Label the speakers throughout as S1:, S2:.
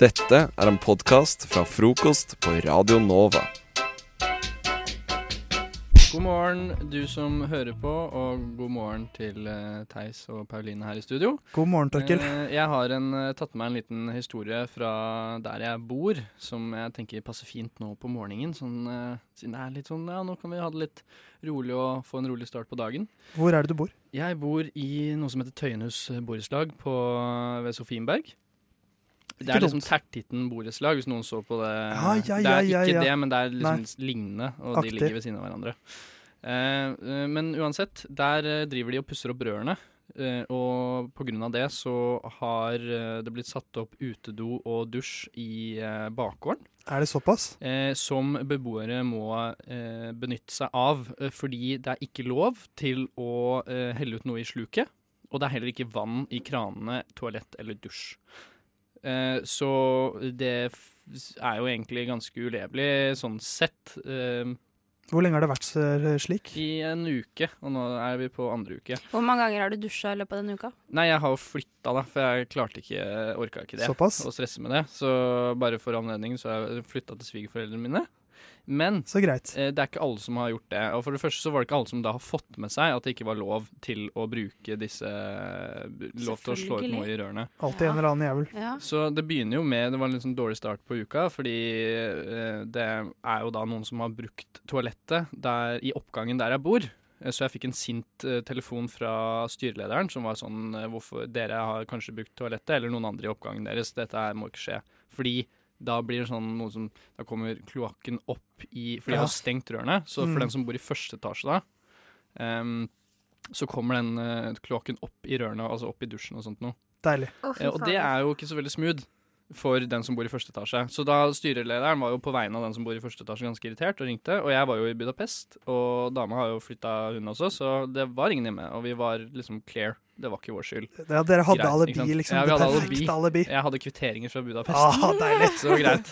S1: Dette er en podkast fra frokost på Radio Nova.
S2: God morgen, du som hører på, og god morgen til eh, Theis og Pauline her i studio.
S3: God morgen, Torkil.
S2: Eh, Jeg har en, eh, tatt med en liten historie fra der jeg bor, som jeg tenker passer fint nå på morgenen. Sånn, eh, siden det er litt sånn, ja, nå kan vi ha det litt rolig og få en rolig start på dagen.
S3: Hvor er det du bor?
S2: Jeg bor i noe som heter Tøyenhus borettslag på- ved Sofienberg. Det
S3: Ikke
S2: er liksom
S3: dumt.
S2: Tertitten borettslag, hvis noen så på det.
S3: Ja, ja,
S2: det er
S3: ja, ja, ja.
S2: ikke det, men det er liksom lignende, og
S3: Aktig.
S2: de ligger ved siden av hverandre. Eh, eh, men uansett, der eh, driver de og pusser opp rørene. eh, og på grunn av det så har eh, det blitt satt opp utedo og dusj i eh, bakgården
S3: Er det såpass?
S2: eh, som beboere må eh, benytte seg av, eh, fordi det er ikke lov til å eh, helle ut noe i sluket, og det er heller ikke vann i kranene, toalett eller dusj. Eh, så det f- er jo egentlig ganske ulevelig sånn sett eh,
S3: Hvor lenge har det vært eh, slik?
S2: i en uke, og nå er vi på andre uke.
S4: Hvor mange ganger har du dusja i løpet av denne uka?
S2: Nei, jeg har jo flytta, da, for jeg klarte ikke, orka ikke det.
S3: Såpass?
S2: Å stresse med det. Så bare for anledningen så har jeg flytta til svigerforeldrene mine. Men
S3: Så greit.
S2: Eh, Det er ikke alle som har gjort det. Og for det første så var det ikke alle som da har fått med seg at det ikke var lov til å bruke disse eh, Lov til å slå ut noe i rørene.
S3: Alltid
S4: Ja.
S3: en eller annen jævel.
S4: Ja.
S2: Så det begynner jo med Det var en litt sånn dårlig start på uka, fordi eh, det er jo da noen som har brukt toalettet der, i oppgangen der jeg bor. Eh, Så jeg fikk en sint eh, telefon fra styrelederen som var sånn eh, Hvorfor dere har kanskje brukt toalettet, eller noen andre i oppgangen deres. Dette her må ikke skje. Fordi da blir det sånn noe som Da kommer kloakken opp i For de
S3: Ja.
S2: har stengt rørene. Så
S3: Mm.
S2: for den som bor i første etasje da, ehm, så kommer den eh, kloakken opp i rørene, altså opp i dusjen og sånt noe.
S3: Deilig.
S2: Eh, Og det er jo ikke så veldig smooth for den som bor i første etasje. Så da styrelederen var jo på vegne av den som bor i første etasje ganske irritert og ringte, og jeg var jo i Budapest, og dama har jo flytta hun også, så det var ingen hjemme, og vi var liksom clear. Det var ikke vår skyld.
S3: Ja, dere hadde
S2: Greit, ikke
S3: alibi,
S2: sant?
S3: liksom.
S2: Ja, vi
S3: det
S2: hadde
S3: perfekte alibi.
S2: Jeg hadde kvitteringer fra Budapest.
S3: Ah, deilig.
S2: Så det var greit.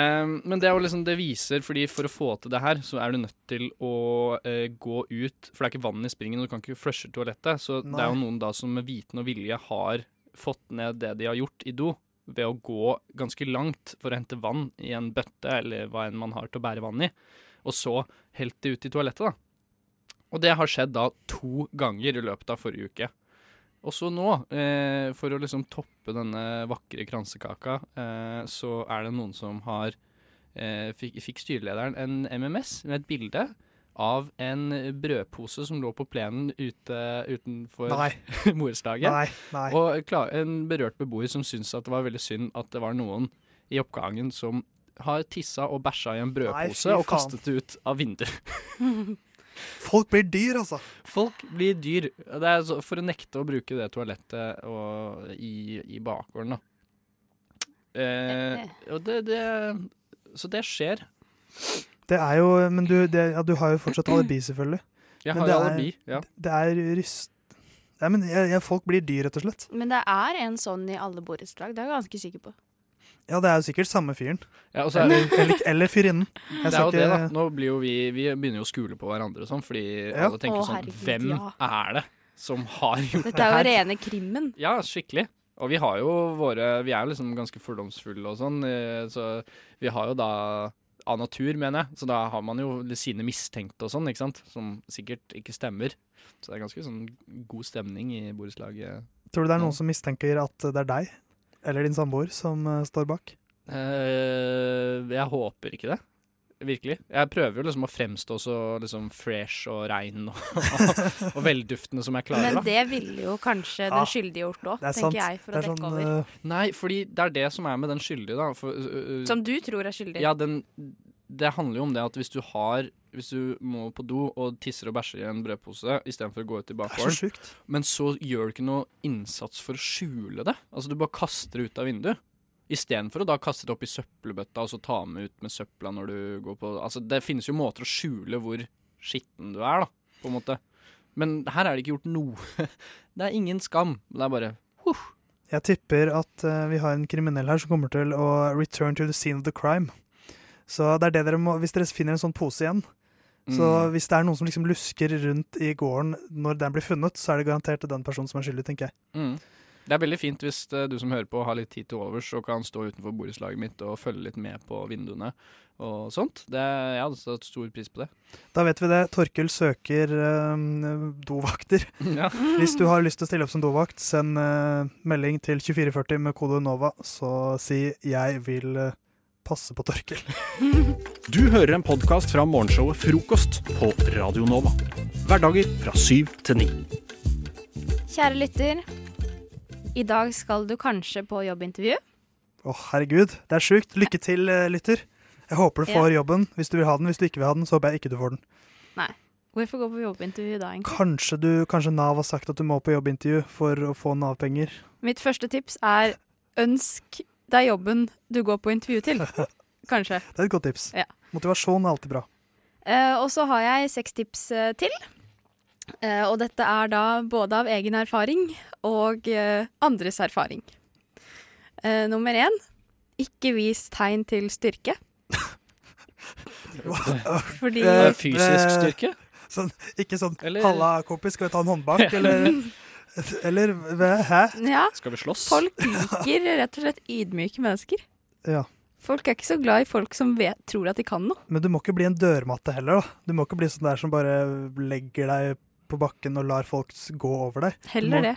S2: Ehm, men det, er jo liksom, det viser, fordi for å få til det her, så er du nødt til å eh, gå ut For det er ikke vann i springen, og du kan ikke flushe toalettet. Så det er jo noen da som med viten og vilje har fått ned det de har gjort i do, ved å gå ganske langt for å hente vann i en bøtte eller hva enn man har til å bære vann i, og så helt det ut i toalettet, da. Og det har skjedd da to ganger i løpet av forrige uke. Og så nå, eh, for å liksom toppe denne vakre kransekaka, eh, så er det noen som har eh, fikk, fikk styrelederen en MMS med et bilde av en brødpose som lå på plenen ute, utenfor
S3: Nei,
S2: borettslaget.
S3: nei, nei.
S2: Og klar, en berørt beboer som syntes at det var veldig synd at det var noen i oppgangen som har tissa og bæsja i en brødpose
S3: fy
S2: og
S3: faen.
S2: kastet det ut av vinduet.
S3: Folk blir dyr, altså.
S2: Folk blir dyr. Det er så, for å nekte å bruke det toalettet og, i, i bakgården, da. Eh, og det, det Så det skjer.
S3: Det er jo Men du, det, ja, du har jo fortsatt alibi, selvfølgelig.
S2: Jeg
S3: Men
S2: har
S3: det
S2: jo
S3: er-
S2: alibi. Ja.
S3: Det er ryst... Nei, men jeg, jeg, folk blir dyr, rett og slett.
S4: Men det er en sånn i alle borettslag, det er jeg ganske sikker på.
S3: Ja, det er jo sikkert samme fyren.
S2: Ja, og så er det,
S3: Eller, eller, eller fyrinnen. Jeg
S2: det er
S3: skal
S2: jo det, da.
S3: ikke
S2: Nå blir jo vi Vi begynner jo å skule på hverandre og sånn, fordi
S3: Ja.
S2: alle tenker
S4: Å,
S2: sånn
S4: herregud,
S2: Hvem
S4: ja.
S2: er det som har gjort
S4: Dette er jo rene krimmen.
S2: Ja, skikkelig. Og vi har jo våre Vi er jo liksom ganske fordomsfulle og sånn, eh, så vi har jo da Av natur, mener jeg. Så da har man jo sine mistenkte og sånn, ikke sant. Som sikkert ikke stemmer. Så det er ganske sånn god stemning i borettslaget.
S3: Tror du det er noen
S2: Mm.
S3: som mistenker at det er deg eller din samboer som eh, står bak?
S2: Eh, jeg håper ikke det. Virkelig. Jeg prøver jo liksom å fremstå så liksom fresh og rein og, og velduftende som jeg klarer.
S4: Men
S2: da.
S4: det ville jo kanskje
S3: Ja.
S4: den skyldige gjort òg,
S3: Det er
S4: tenker
S3: sant.
S4: jeg, for å
S3: det er
S4: dekke
S3: sånn
S4: over.
S3: eh,
S2: Nei, fordi det er det som er med den skyldige, da. For, øh, øh,
S4: Som du tror er skyldig.
S2: Ja, den, det handler jo om det at hvis du har Hvis du må på do og tisser og bæsjer i en brødpose istedenfor å gå ut i
S3: Det er så
S2: bakgården,
S3: sjukt.
S2: men så gjør du ikke noe innsats for å skjule det. Altså, du bare kaster det ut av vinduet. Istedenfor å da kaste det opp i søppelbøtta og så ta med ut med søpla når du går på Altså, det finnes jo måter å skjule hvor skitten du er, da, på en måte. Men her er det ikke gjort noe. Det er ingen skam. Det er bare huh.
S3: Jeg tipper at eh, vi har en kriminell her som kommer til å return to the scene of the crime. Så det er det dere må, Hvis dere finner en sånn pose igjen Så
S2: Mm.
S3: hvis det er noen som liksom lusker rundt i gården når den blir funnet, så er det garantert den personen som er skyldig, tenker jeg.
S2: Mm. Det er veldig fint hvis eh, du som hører på har litt tid til overs og kan stå utenfor borettslaget mitt og følge litt med på vinduene og sånt. Det, jeg hadde satt stor pris på det.
S3: Da vet vi det. Torkel søker eh, dovakter.
S2: ja.
S3: Hvis du har lyst til å stille opp som dovakt, send eh, melding til 2440 med kode NOVA, så si 'jeg vil eh, passe på Torkel'.
S5: Du hører en podkast fra morgenshowet Frokost på Radio Nova. Hverdager fra syv til ni.
S6: Kjære lytter. I dag skal du kanskje på jobbintervju.
S3: Å, herregud, det er sjukt. Lykke til, eh, lytter. Jeg håper du får jobben hvis du vil ha den. Hvis du ikke vil ha den, så håper jeg ikke du får den.
S6: Hvorfor gå på jobbintervju da, egentlig?
S3: Kanskje, du, kanskje Nav har sagt at du må på jobbintervju for å få Nav-penger.
S6: Mitt første tips er ønsk deg jobben du går på intervju til. Kanskje.
S3: Det er et godt tips.
S6: Ja.
S3: Motivasjon er alltid bra.
S6: Eh, og så har jeg seks tips eh, til. Eh, og dette er da både av egen erfaring og eh, andres erfaring. Eh, nummer én ikke vis tegn til styrke. Fordi
S3: Eh,
S2: Fysisk
S3: eh,
S2: styrke?
S3: Sånn, ikke sånn
S2: Eller-
S3: 'halla, kompis, skal vi ta en håndbank', eller, eller hva- Hæ?
S6: ja,
S2: Skal vi slåss?
S6: folk liker rett og slett ydmyke mennesker.
S3: Ja.
S6: Folk er ikke så glad i folk som vet, tror at de kan noe.
S3: Men du må ikke bli en dørmatte heller, da. Du må ikke bli sånn der som bare legger deg på bakken og lar folk s- gå over deg.
S6: Heller
S3: Du må-
S6: det.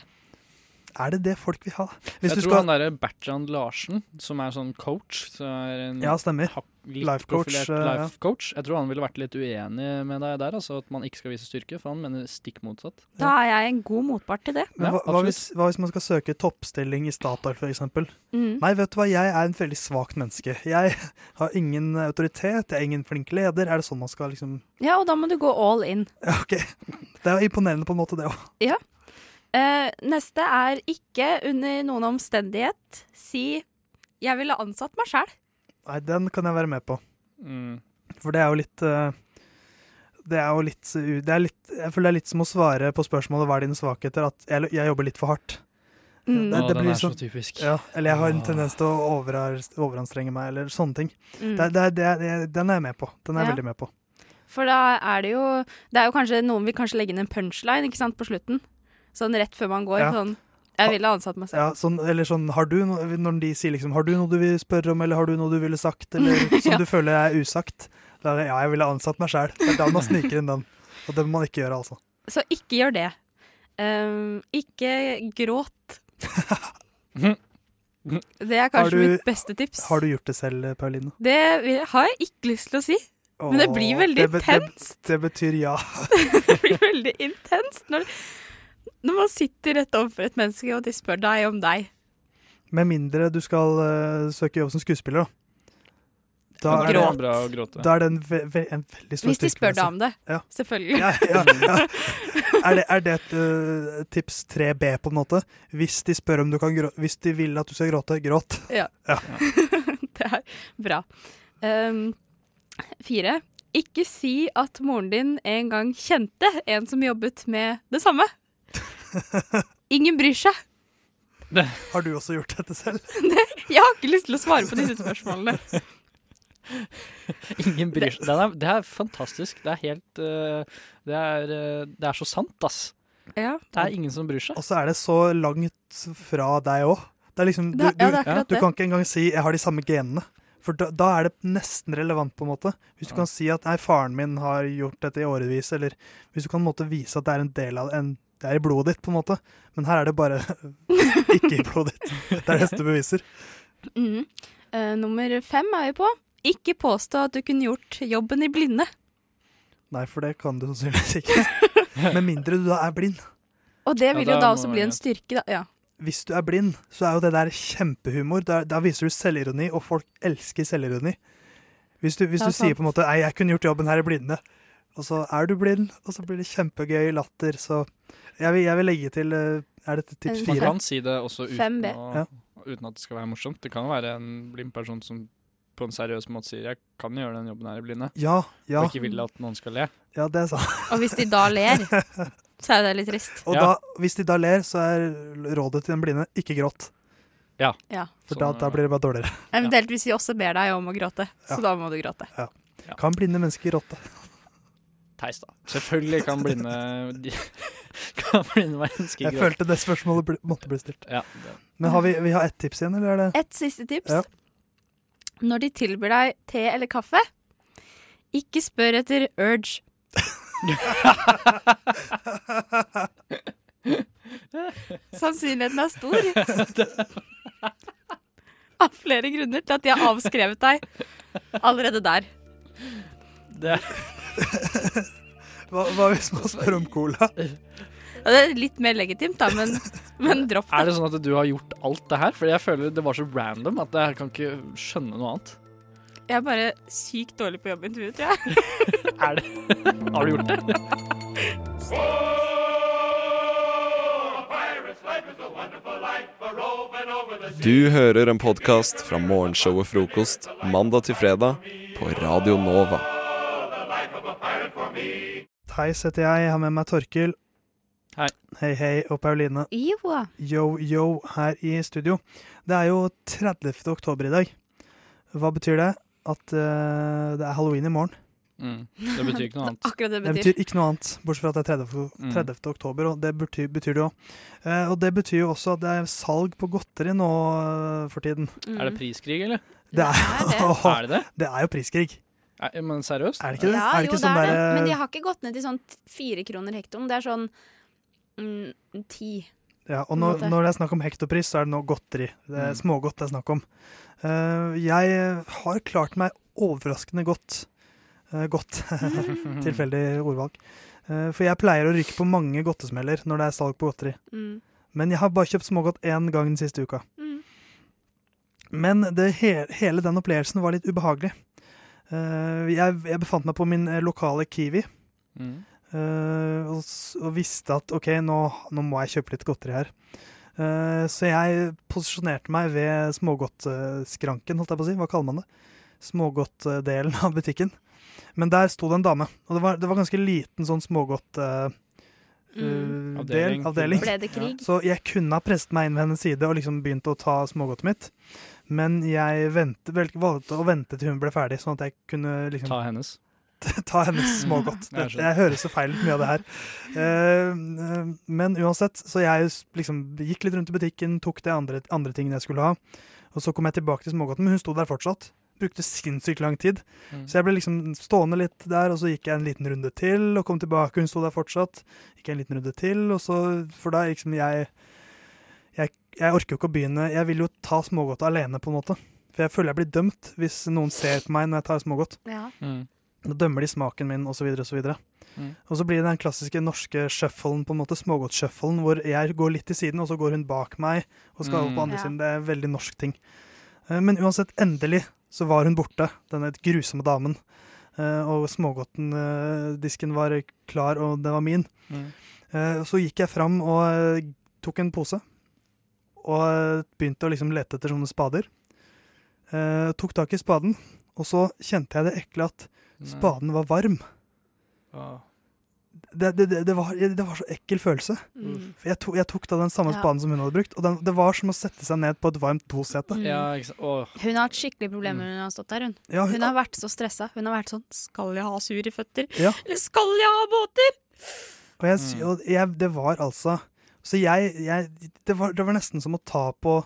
S3: Er det det folk vil ha? Hvis du
S2: Jeg tror
S3: skal
S2: han derre Bertrand Larsen, som er sånn coach som er en
S3: Ja, stemmer.
S2: hak- litt
S3: Life coach,
S2: profilert
S3: eh, ja.
S2: life coach. Jeg tror han ville vært litt uenig med deg der, altså, at man ikke skal vise styrke, for han mener stikk motsatt.
S6: Da er jeg en god motpart til det.
S3: Men
S2: Ja,
S3: hva, hva,
S2: absolutt.
S3: hvis, hva hvis man skal søke toppstilling i Statoil, f.eks.?
S6: Mm.
S3: Nei, vet du hva, jeg er en veldig svakt menneske. Jeg har ingen autoritet, jeg er ingen flink leder. Er det sånn man skal liksom
S6: Ja, og da må du gå all in.
S3: Ja, OK. Det er jo imponerende på en måte, det òg.
S6: Eh, neste er ikke under noen omstendighet si 'jeg ville ansatt meg sjæl'.
S3: Nei, den kan jeg være med på.
S2: Mm.
S3: For det er jo litt eh, Det er jo litt, u- det er litt Jeg føler det er litt som å svare på spørsmålet 'Hva er dine svakheter?' at jeg, jeg jobber litt for hardt.
S6: Mm.
S3: Det-
S2: Å,
S3: det
S2: den
S3: blir
S2: er så
S3: sånn-
S2: typisk.
S3: Ja, eller jeg har en
S2: Ah.
S3: tendens til å over, overanstrenge meg, eller sånne ting.
S6: Mm.
S3: Det, det, det, det, den er jeg med på. Den er jeg
S6: Ja.
S3: veldig med på.
S6: For da er det jo Det er jo kanskje noen vil kanskje legge inn en punchline ikke sant, på slutten. Sånn rett før man går.
S3: Ja.
S6: Sånn 'jeg ville ansatt meg selv'.
S3: Ja, sånn, eller sånn har du noe, Når de sier liksom 'Har du noe du vil spørre om', eller 'Har du noe du ville sagt', eller som du føler er usagt, da er det 'Ja, jeg ville ansatt meg sjæl'. Det er da man sniker inn den. Og det må man ikke gjøre, altså.
S6: Så ikke gjør det. Eh, ikke gråt. Det er
S3: Har
S6: kanskje
S3: du-
S6: mitt beste tips.
S3: Har du gjort det selv, Pauline?
S6: Det vil, har jeg ikke lyst til å si, men det blir
S3: Åh,
S6: veldig
S3: det be- det-
S6: intenst.
S3: Det betyr ja.
S6: Det blir veldig intenst når, når man sitter rett overfor et menneske og de spør deg om deg.
S3: Med mindre du skal eh, søke jobb som skuespiller, da. Da
S2: Ja,
S3: er,
S2: det
S6: Gråt.
S2: er bra å gråte.
S3: det, da er det en, ve ve en veldig stor
S6: Hvis de spør deg
S3: styrkepresse.
S6: om det,
S3: Ja.
S6: selvfølgelig.
S3: Ja, ja, ja. Er, det, er det et eh, tips 3B, på en måte? Hvis de spør om du kan grå Hvis de vil at du skal gråte, gråt.
S6: Det er bra. Ehm, fire. Ikke si at moren din en gang kjente en som jobbet med det samme. Ingen bryr seg.
S3: Har du også gjort dette selv?
S6: Jeg har ikke lyst til å svare på disse spørsmålene.
S2: Ingen bryr seg. Den er, det er fantastisk. Det er helt eh, det, er, eh, det er så sant, ass.
S6: Ja,
S2: Det er ingen som bryr seg.
S3: Og så er det så langt fra deg òg. Det er liksom
S6: det, er-
S3: du, du,
S6: ja, det er
S2: ja,
S6: akkurat
S3: du
S6: det.
S3: kan ikke engang si 'jeg har de samme genene'. For da, da er det nesten relevant, på en måte. Hvis du kan si at 'nei, faren min har gjort dette i årevis', eller hvis du kan på en måte vise at det er en del av en, det er i blodet ditt, på en måte. Men her er det bare ikke i blodet ditt. Det er neste beviser.
S6: Mhm. Eh, nummer fem er vi på. Ikke påstå at du kunne gjort jobben i blinde.
S3: Nei, for det kan du sannsynligvis ikke. Med mindre du da er blind.
S6: Og det
S2: Ja,
S6: vil
S2: da
S6: jo da
S2: må
S6: også
S2: man
S6: bli en
S2: gjøre.
S6: styrke, da. Ja.
S3: Hvis du er blind, så er jo det der kjempehumor. Da, da viser du selvironi, og folk elsker selvironi. Hvis du, hvis
S6: Det er
S3: du sier
S6: sant.
S3: på en måte 'nei, jeg kunne gjort jobben her i blinde', og så er du blind, og så blir det kjempegøy latter, så jeg vil, jeg vil legge til eh, Er dette tips
S6: En
S2: Man
S3: fire?
S6: fem.
S2: kan si det også uten,
S6: 5B.
S2: å,
S3: Ja.
S2: uten at det skal være morsomt. Det kan jo være en blind person som på en seriøs måte sier 'jeg kan gjøre den jobben her i blinde',
S3: Ja, ja,
S2: og ikke vil at noen skal le.
S3: ja, det er sant.
S6: Og hvis de da ler, så er jo det litt trist.
S3: Og
S2: Ja.
S3: da, hvis de da ler, så er rådet til den blinde 'ikke gråt',
S6: Ja.
S3: for da,
S2: Sånn,
S3: da blir det bare dårligere.
S6: Eventuelt hvis de også ber deg om å gråte, så
S3: Ja.
S6: da må du gråte.
S3: Kan blinde mennesker gråte?
S2: Theis, da. Selvfølgelig kan blinde de, fordi den var ganske
S3: Jeg
S2: grov.
S3: følte det spørsmålet ble, måtte bli stilt.
S2: Ja, det.
S3: Men har vi, vi har ett tips igjen, eller er det
S4: Et siste tips.
S3: Ja.
S4: Når de tilbyr deg te eller kaffe, ikke spør etter urge. Sannsynligheten er stor. Av flere grunner til at de har avskrevet deg allerede der.
S2: Det,
S3: Hva, hva hvis man spør om cola?
S4: Og det er litt mer legitimt, da, men, men dropp
S2: er
S4: det.
S2: det sånn at du har gjort alt det her? Fordi jeg føler det var så random at jeg kan ikke skjønne noe annet.
S4: Jeg er bare sykt dårlig på jobbintervju, tror jeg.
S2: Er det? Har du gjort det?
S1: Du hører en podkast fra morgenshow og frokost mandag til fredag på Radio Nova.
S3: Theis heter jeg, jeg har med meg Torkil.
S2: Hei.
S3: Hei, hei, og Pauline.
S4: Joa.
S3: Yo, yo, her i studio. Det er jo 30. oktober i dag. Hva betyr det? At eh, det er halloween i morgen.
S2: Mm, det betyr ikke noe annet.
S4: Akkurat det
S3: Det
S4: betyr.
S3: betyr ikke noe annet, bortsett fra at det er 30.
S2: Mm.
S3: 30. oktober, og det betyr, betyr det jo. Eh, og det betyr jo også at det er salg på godteri nå eh, for tiden.
S4: Mm.
S2: Er det priskrig, eller?
S3: Det er,
S4: det.
S2: Er det det?
S3: det er jo priskrig.
S2: Er, men seriøst?
S3: Er det ikke det?
S4: Ja,
S3: er det
S4: jo,
S3: ikke
S4: det
S3: sånn
S4: er det.
S3: derre-
S4: Men de har ikke gått ned til sånn t- fire kroner hektoen. Det er sånn mm, ti.
S3: Ja, og
S4: på
S3: når,
S4: en måte.
S3: når det er snakk om hektopris, så er det nå godteri. Det er
S2: Mm.
S3: smågodt det er snakk om. Eh, jeg har klart meg overraskende godt. Eh, godt.
S4: Mm.
S3: Tilfeldig ordvalg. Eh, for jeg pleier å ryke på mange godtesmeller når det er salg på godteri.
S4: Mm.
S3: Men jeg har bare kjøpt smågodt én gang den siste uka.
S4: Mm.
S3: Men det he hele den opplevelsen var litt ubehagelig. Eh, jeg, jeg befant meg på min eh, lokale Kiwi.
S2: Mm.
S3: Eh, og, s- og visste at ok, nå, nå må jeg kjøpe litt godteri her. Eh, så jeg posisjonerte meg ved smågodtskranken, holdt jeg på å si. Hva kaller man det? Smågodtdelen av butikken. Men der sto det en dame, og det var, det var ganske liten sånn smågodtdel.
S4: Mm.
S3: Uh, avdeling.
S2: Avdeling.
S3: avdeling.
S4: Ble det krig?
S3: Så jeg kunne ha presset meg inn ved hennes side og liksom begynt å ta smågodtet mitt, men jeg vente, vel, valgte å vente til hun ble ferdig, sånn at jeg kunne liksom
S2: Ta hennes.
S3: ta hennes smågodt.
S2: Jeg
S3: Det,
S2: skjønner.
S3: jeg hører så feil ut mye av det her. Eh, eh, men uansett, så jeg s- liksom gikk litt rundt i butikken, tok de andre, andre tingene jeg skulle ha, og så kom jeg tilbake til smågodten, men hun sto der fortsatt. Brukte sinnssykt lang tid.
S2: Mm.
S3: Så jeg ble liksom stående litt der, og så gikk jeg en liten runde til, og kom tilbake, hun sto der fortsatt. Gikk jeg en liten runde til, og så For da liksom jeg Jeg, jeg orker jo ikke å begynne Jeg vil jo ta smågodtet alene, på en måte. For jeg føler jeg blir dømt hvis noen ser på meg når jeg tar smågodt.
S4: Ja.
S2: Mm.
S3: Da dømmer de smaken min, osv. Og, så videre.
S2: Mm.
S3: og så blir det den klassiske norske shufflen, på en måte smågodtshufflen, hvor jeg går litt til siden, og så går hun bak meg og skal over
S2: Mm.
S3: på andre
S4: Ja.
S3: siden. Det er en veldig norsk ting. Eh, Men uansett, endelig så var hun borte, denne grusomme damen. Eh, Og smågodtdisken var klar, og den var min.
S2: Mm.
S3: Eh, Så gikk jeg fram og eh, tok en pose, og eh, begynte å liksom lete etter sånne spader. Eh, Tok tak i spaden, og så kjente jeg det ekle at spaden var varm.
S2: Ah.
S3: det, det, det, det, var, det var så ekkel følelse.
S4: Mm.
S3: For jeg, to, jeg tok da den samme
S4: Ja.
S3: spaden som hun hadde brukt, og den, det var som å sette seg ned på et varmt tosete.
S2: Ja, ikke sant. Åh.
S4: Hun har hatt skikkelig problemer når hun har stått der. Hun
S3: Ja,
S4: Hun har vært så stressa. Hun har vært sånn Skal jeg ha sure føtter?
S3: Ja.
S4: Eller skal jeg ha båter?
S3: og jeg,
S2: Mm.
S3: sy- og jeg, det var altså Så jeg, jeg det, var, det var nesten som å ta på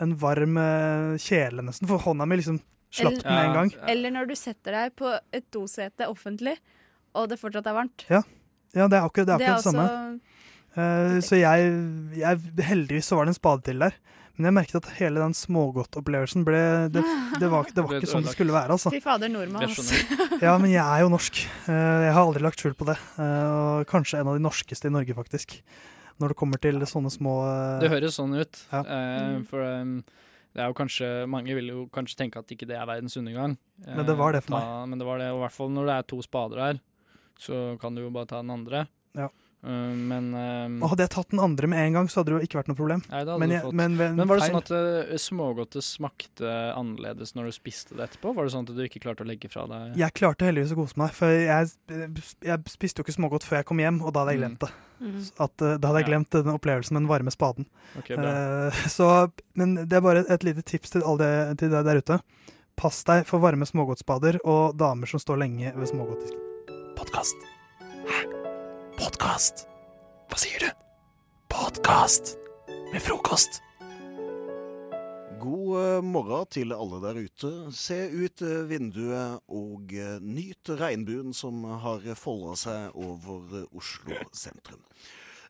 S3: en varm eh, kjele, nesten, for hånda mi liksom slapp
S4: Eller-
S3: den med en gang.
S2: Ja.
S4: Eller når du setter deg på et dosete offentlig, og det fortsatt er varmt.
S3: Ja, det er akkurat det, er akkurat det samme.
S6: altså
S4: også
S3: Eh, så jeg, jeg Heldigvis så var det en spade til der. Men jeg merket at hele den smågodtopplevelsen ble det, det, var, det var
S2: Ble
S3: ikke sånn det
S2: ødelagt.
S3: skulle være, altså.
S4: Fy fader, nordmann.
S2: Jeg
S4: Altså.
S2: skjønner.
S3: Ja, men jeg er jo norsk. Eh, Jeg har aldri lagt skjul på det. Eh, Og kanskje en av de norskeste i Norge, faktisk. Når det kommer til sånne små
S2: Det
S3: eh,
S2: høres sånn ut.
S3: Ja.
S2: eh, for um, det er jo kanskje Mange vil jo kanskje tenke at ikke det er verdens undergang. Eh,
S3: Men det var det for
S2: ta, meg. Men det var det, og i hvert fall når det er to spader her, så kan du jo bare ta den andre.
S3: Ja.
S2: Eh, men um,
S3: Og Hadde jeg tatt den andre med en gang, så hadde det jo ikke vært noe problem.
S2: Nei, det hadde
S3: Men,
S2: du
S3: jeg,
S2: fått. Men,
S3: men, ved en
S2: var det
S3: feil-
S2: sånn at eh, smågodtet smakte annerledes når du spiste det etterpå? Var det sånn at du ikke klarte å legge fra deg
S3: Jeg klarte heldigvis å kose meg, for jeg, jeg spiste jo ikke smågodt før jeg kom hjem, og da hadde jeg
S2: Mm.
S3: glemt det.
S4: Mm.
S3: At, eh, da hadde jeg
S2: Ja.
S3: glemt den opplevelsen med den varme spaden.
S2: Ok, bra.
S3: Eh, Så, men det er bare et lite tips til alle de- til deg der ute. Pass deg for varme smågodtspader og damer som står lenge ved smågodtdisken.
S1: Podkast. Hæ? Podkast? Hva sier du? Podkast med frokost.
S7: God eh, morgen til alle der ute. Se ut eh, vinduet og eh, nyt regnbuen som har folda seg over eh, Oslo sentrum.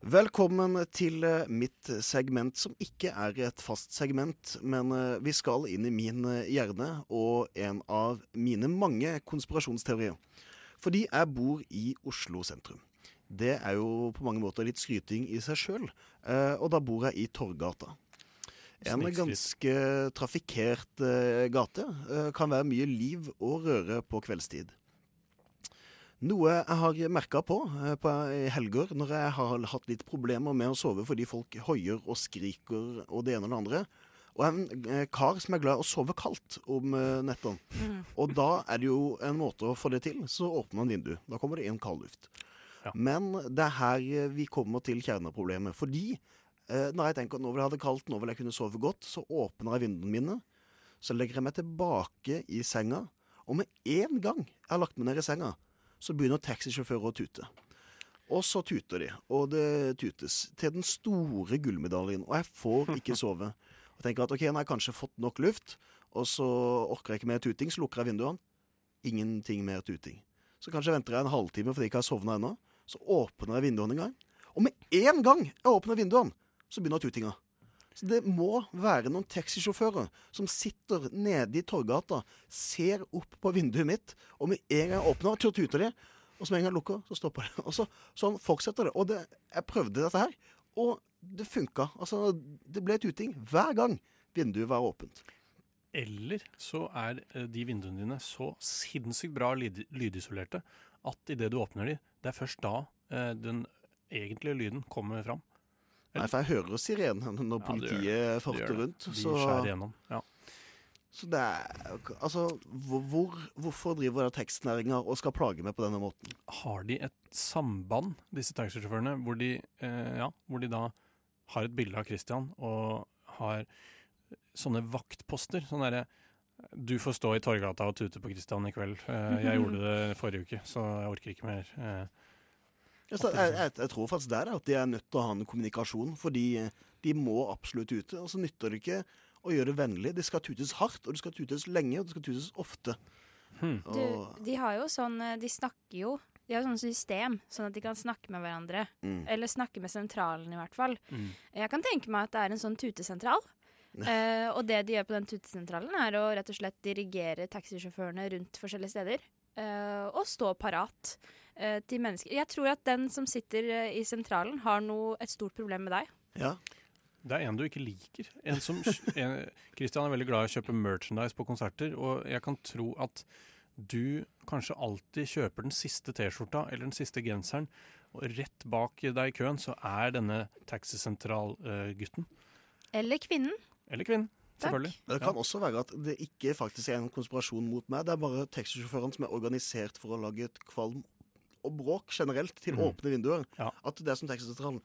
S7: Velkommen til eh, mitt segment, som ikke er et fast segment, men eh, vi skal inn i min eh, hjerne og en av mine mange konspirasjonsteorier. Fordi jeg bor i Oslo sentrum. Det er jo på mange måter litt skryting i seg sjøl, og da bor jeg i Torgata. En
S5: Snikskryt.
S7: ganske trafikkert eh, gate. Eh, kan være mye liv og røre på kveldstid. Noe jeg har merka på, eh, på i helger når jeg har hatt litt problemer med å sove fordi folk hoier og skriker og det ene og det andre. Og jeg er en eh, kar som er glad i å sove kaldt om eh, nettene. Og da er det jo en måte å få det til. Så åpner man vinduet. Da kommer det inn kald luft.
S5: Ja.
S7: Men det er her eh, vi kommer til kjerneproblemet. Fordi Eh, når jeg tenker at nå vil jeg ha det kaldt, nå vil jeg kunne sove godt, så åpner jeg vinduene mine. Så legger jeg meg tilbake i senga, og med en gang jeg har lagt meg ned i senga, så begynner taxisjåfører å tute. Og så tuter de, og det tutes til den store gullmedaljen, og jeg får ikke sove. Og tenker at ok, nå har jeg kanskje fått nok luft, og så orker jeg ikke mer tuting, så lukker jeg vinduene. Ingenting mer tuting. Så kanskje venter jeg en halvtime fordi jeg ikke har sovna ennå. Så åpner jeg vinduene en gang, og med en gang jeg åpner vinduene, så begynner tutinga. Så det må være noen taxisjåfører som sitter nede i Torgata, ser opp på vinduet mitt, og med en gang jeg åpner, så tuter de. Og så med en gang jeg lukker, så stopper det. Og så, sånn fortsetter det. Og det, jeg prøvde dette her, og det funka. Altså, det ble tuting hver gang vinduet var åpent.
S5: Eller så er eh, de vinduene dine så sinnssykt bra lyd lydisolerte at idet du åpner de, det er først da eh, den egentlige lyden kommer fram.
S7: Nei, for jeg hører sirenene
S5: Ja, det gjør
S7: når
S5: det.
S7: politiet farter
S5: gjør det.
S7: rundt.
S5: De
S7: Så,
S5: skjærer gjennom. Ja.
S7: så det er Altså, hvor, hvor- hvorfor driver tekstnæringa og skal plage meg på denne måten?
S5: Har de et samband, disse taxisjåførene, hvor, de, eh, ja, hvor de da har et bilde av Christian og har sånne vaktposter? Sånn derre Du får stå i Torgata og tute på Christian i kveld. Eh, jeg gjorde det forrige uke, så jeg orker ikke mer. Eh,
S7: Ja, så jeg, jeg, jeg tror faktisk det er det, at de er nødt til å ha en kommunikasjon, fordi eh, de må absolutt tute. Og så nytter det ikke å gjøre det vennlig. Det skal tutes hardt, og det skal tutes lenge, og det skal tutes ofte.
S5: Hmm.
S7: Og,
S6: Du, de har jo sånn eh, De snakker jo De har jo sånn system, sånn at de kan snakke med hverandre.
S7: mm.
S6: Eller snakke med sentralen, i hvert fall.
S5: Mm.
S6: Jeg kan tenke meg at det er en sånn tutesentral. Eh, og det de gjør på den tutesentralen, er å rett og slett dirigere taxisjåførene rundt forskjellige steder. eh, og stå parat eh, til mennesker. Jeg tror at den som sitter eh, i sentralen, har noe, et stort problem med deg.
S7: Ja.
S5: Det er en du ikke liker. En som, en, Christian er veldig glad i å kjøpe merchandise på konserter, og jeg kan tro at du kanskje alltid kjøper den siste T-skjorta eller den siste genseren, og rett bak deg i køen så er denne eh, taxisentralgutten.
S6: Eller kvinnen.
S5: Eller kvinnen,
S6: Takk.
S5: selvfølgelig.
S7: Men Det kan også være at det ikke faktisk er en konspirasjon mot meg. Det er bare taxisjåførene som er organisert for å lage et kvalm og bråk generelt til
S5: Mhm.
S7: åpne vinduer.
S5: Ja.
S7: At det er som taxisentralen.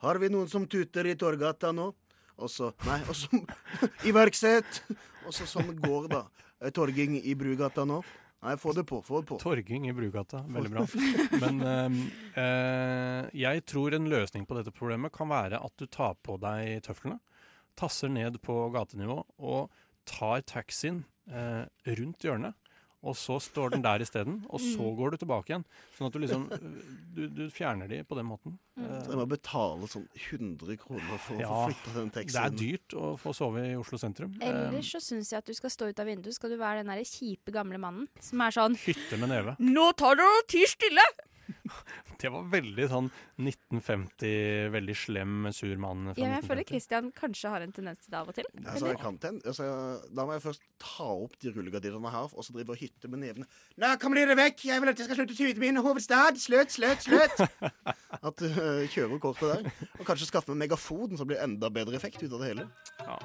S7: Har vi noen som tuter i Torgata nå? Og så Nei, og så Iverksett! Og så sånn går da. Eh, Torging i Brugata nå. Nei, få det på, få det på.
S5: Torging i Brugata, veldig bra. Men eh, eh, jeg tror en løsning på dette problemet kan være at du tar på deg tøflene, tasser ned på gatenivå og tar taxien eh, rundt hjørnet. Og så står den der isteden, og så
S6: Mm.
S5: går du tilbake igjen. Sånn at du liksom eh, Du, du fjerner de på den måten.
S6: Mm.
S5: Eh,
S7: Så Jeg må betale sånn 100 kroner for å få
S5: Ja,
S7: flytta den
S5: Det er
S7: teksten.
S5: dyrt å få sove i Oslo sentrum. Eh,
S6: Ellers så syns jeg at du skal stå ut av vinduet. Skal du være den der kjipe gamle mannen som er sånn
S5: Eh, hytte med neve.
S6: Nå tar du og tier stille!
S5: Det var veldig sånn 1950, veldig slem, sur mann. fra
S6: Ja, men jeg føler
S5: 1950.
S6: Christian kanskje har en tendens til det av og til.
S7: Altså, jeg kan ten, altså, da må jeg først ta opp de rullegardinene her, og så drive og hytte med nevene. Nå kommer dere vekk! Jeg vil at jeg skal slutte å tyde min hovedstad! Slutt, slutt, slutt! At du øh, kjører kortet der. Og kanskje skaffe meg megafon, så blir det enda bedre effekt ut av det hele.
S5: Ja.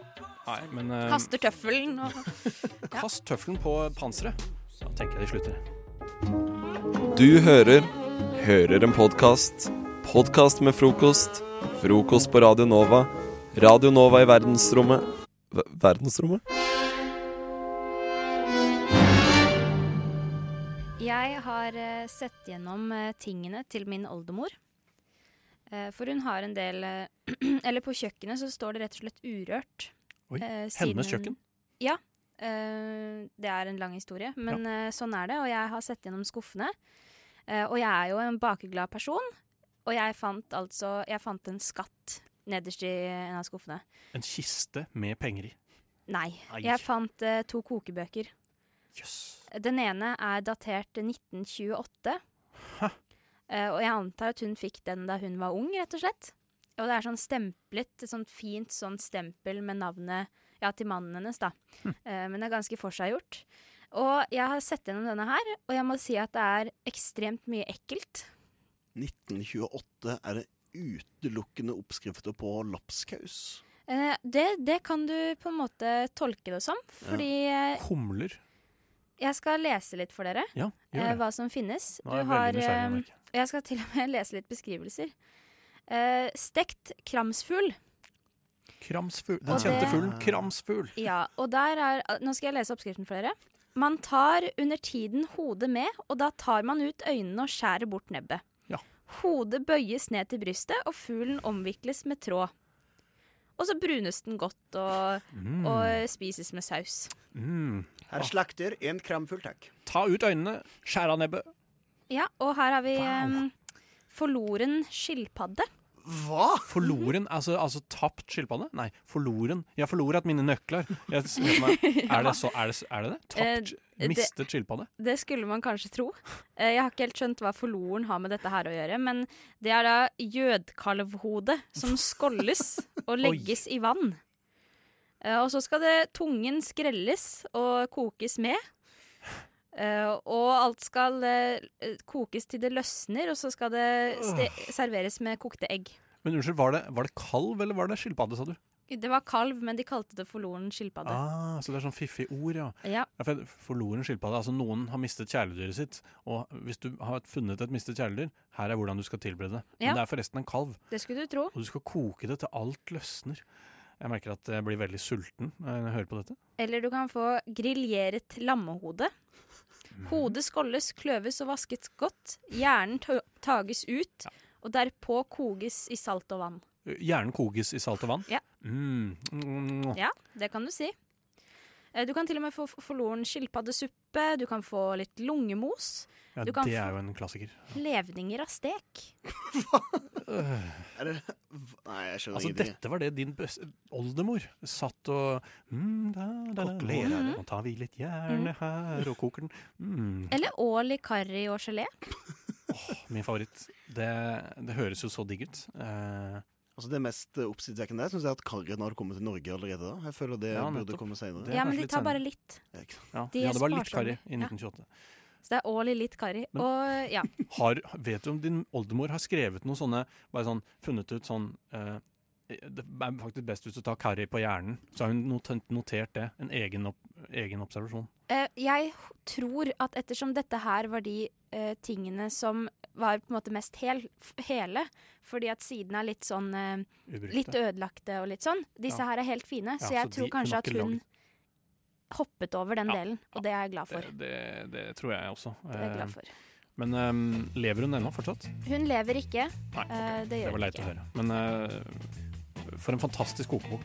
S5: Nei, men eh,
S6: Kaster tøffelen og
S5: Kast tøffelen på panseret. Da tenker jeg de slutter.
S1: Du hører Hører en podkast. Podkast med frokost. Frokost på Radio Nova. Radio Nova i verdensrommet Ver- Verdensrommet?
S6: Jeg har eh, sett gjennom eh, tingene til min oldemor. Eh, For hun har en del eh, Eller på kjøkkenet så står det rett og slett urørt.
S5: Oi,
S6: eh, siden
S5: Hennes
S6: hun-
S5: kjøkken.
S6: Eh, det er en lang historie, men eh, sånn er det. Og jeg har sett gjennom skuffene. Eh, og jeg er jo en bakeglad person, og jeg fant altså Jeg fant en skatt nederst i en av skuffene.
S5: En kiste med penger i.
S6: Nei.
S5: Ai.
S6: Jeg fant eh, to kokebøker.
S5: Jøss.
S6: Den ene er datert 1928.
S5: Hæ?
S6: Eh, og jeg antar at hun fikk den da hun var ung, rett og slett. Og det er sånn stemplet, et sånt fint sånn stempel med navnet ja, til mannen hennes, da.
S5: Hm.
S6: Eh, men det er ganske forseggjort. Og jeg har sett gjennom denne her, og jeg må si at det er ekstremt mye ekkelt.
S7: 1928 er det utelukkende oppskrifter på lapskaus.
S6: Eh, det, det kan du på en måte tolke det som, fordi eh,
S5: Humler.
S6: jeg skal lese litt for dere
S5: Ja,
S6: eh,
S5: gjør det.
S6: hva som finnes.
S5: Nå er jeg
S6: Du
S5: veldig
S6: har
S5: nysgjerrig.
S6: eh,
S5: merker jeg.
S6: Og jeg skal til og med lese litt beskrivelser. Eh, stekt kramsfugl.
S5: Kramsfugl.
S6: og
S5: Den kjente
S6: det-
S5: fuglen kramsfugl.
S6: Ja, og der er ah, Nå skal jeg lese oppskriften for dere. Man tar under tiden hodet med, og da tar man ut øynene og skjærer bort nebbet.
S5: Ja.
S6: Hodet bøyes ned til brystet, og fuglen omvikles med tråd. Og så brunes den godt og,
S5: Mm.
S6: og spises med saus.
S5: Mm.
S7: Herr slakter, en kramfull takk.
S5: Ta ut øynene, skjær av nebbet.
S6: Ja, og her har vi
S5: Wow.
S6: em, forloren skilpadde.
S7: Hva?!
S5: Forloren, altså, altså tapt skilpadde? Nei, forloren. Jeg har forlorat mine nøkler. Jeg, s- vet meg, er, det så, er, det, s- er det det? Tapt,
S6: Eh, det-
S5: mistet skilpadde?
S6: Det skulle man kanskje tro. Eh, Jeg har ikke helt skjønt hva forloren har med dette her å gjøre, men det er da jødkalvhodet som skålles og legges i vann. Eh, Og så skal det tungen skrelles og kokes med. Eh, og alt skal eh, kokes til det løsner, og så skal det ste serveres med kokte egg.
S5: Men unnskyld, var det, var det kalv eller var det skilpadde, sa du?
S6: Det var kalv, men de kalte det forloren skilpadde.
S5: Ah, så det er sånn fiffig ord, ja.
S6: Ja,
S5: Ja, for Forloren skilpadde. Altså noen har mistet kjæledyret sitt. Og hvis du har funnet et mistet kjæledyr, her er hvordan du skal tilberede det.
S6: Ja.
S5: Men det er forresten en kalv,
S6: det skulle du tro.
S5: og du skal koke det til alt løsner. Jeg merker at jeg blir veldig sulten eh, når jeg hører på dette.
S6: Eller du kan få griljeret lammehode.
S5: Mhm.
S6: Hodet skålles, kløves og vaskes godt. Hjernen ta- tages ut, og derpå koges i salt og vann.
S5: Hjernen koges i salt og vann.
S6: Ja.
S5: Mm. Mm.
S6: Ja, det kan du si. Eh, Du kan til og med få f- forloren skilpaddesuppe, du kan få litt lungemos.
S5: Ja,
S6: Du kan
S5: det
S6: få-
S5: er jo en klassiker.
S6: Levninger av stek.
S7: Er det hva? Nei, jeg
S5: Øh.
S7: skjønner
S5: Altså,
S7: ingenting.
S5: dette var det din bøs- oldemor satt og mm, da, da, da,
S7: Kokkelerer er det.
S5: Nå tar vi litt
S6: Mm.
S5: hjerne her og koker den. Mm.
S6: Eller ål i karri og gelé.
S5: Min favoritt. Det, det høres jo så digg ut. Eh,
S7: Altså Det mest eh, oppsiktsvekkende der syns jeg er at karrien har kommet til Norge allerede. da Jeg føler det
S5: Ja, nettopp.
S7: burde komme
S5: Det
S7: senere.
S5: er
S6: Ja, men
S5: kanskje
S6: de
S5: litt
S6: tar
S5: senere.
S6: bare litt.
S7: Ja, ikke sant?
S5: ja.
S6: De er
S5: ja, det var litt karri
S6: sparsomme.
S5: i 1928.
S6: Så det er ål i litt karri.
S5: Men-
S6: Og ja.
S5: Har, vet du om din oldemor har skrevet noe sånne Bare sånn funnet ut sånn eh, Det er faktisk best hvis du tar karri på hjernen. Så har hun noten- notert det. En egen, opp, egen observasjon.
S6: Eh, jeg h- tror at ettersom dette her var de eh, tingene som var på en måte mest hel, f- hele, fordi at sidene er litt sånn eh,
S5: Ubrukte.
S6: litt ødelagte og litt sånn, disse
S5: Ja.
S6: her er helt fine,
S5: Ja,
S6: så jeg
S5: så de-
S6: tror
S5: hun har
S6: kanskje at
S5: ikke
S6: hun
S5: lagd-
S6: hoppet over den
S5: Ja,
S6: delen,
S5: ja.
S6: og det er jeg glad for.
S5: Det, det, Eh, det tror jeg også.
S6: Det er jeg
S5: Eh,
S6: glad for.
S5: Men ehm, lever hun ennå fortsatt?
S6: Hun lever ikke.
S5: Nei, ok.
S6: Eh, det
S5: det
S6: gjør
S5: var
S6: hun
S5: leit å
S6: ikke.
S5: høre. Men eh, for en fantastisk kokebok.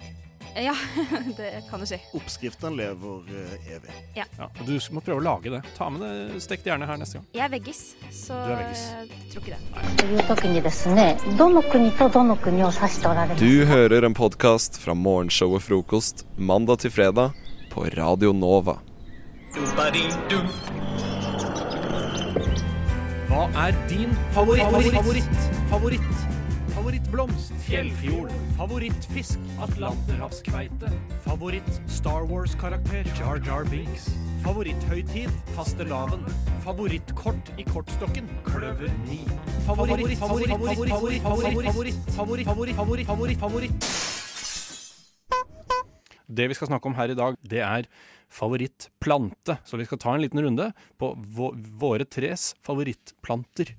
S6: Ja, det kan du si.
S7: Oppskriften lever eh, evig.
S5: Ja, og du må prøve å lage det. Ta med det stekt gjerne her neste gang.
S6: Jeg er veggis, så
S5: Du er veggis.
S6: jeg tror ikke det.
S8: という時にですねどの国とどの国を指しておられ ますか
S1: Du hører en podkast fra morgenshowet Frokost mandag til fredag på Radio Nova.
S5: Hva er din favoritt, favoritt, favoritt, favoritt, favorittblomst? Fjellfjord. Favorittfisk? Atlanterhavskveite. Favoritt Star Wars-karakter? Jar Jar Binks. Favoritthøytid? Fastelavn. Favorittkort i kortstokken? Kløver 9. Favoritt, favoritt, favoritt, favoritt, favoritt, favoritt, favoritt, favoritt, favoritt, favoritt, favoritt. Det vi skal snakke om her i dag, det er favorittplante. Så vi skal ta en liten runde på vå- våre tres favorittplanter.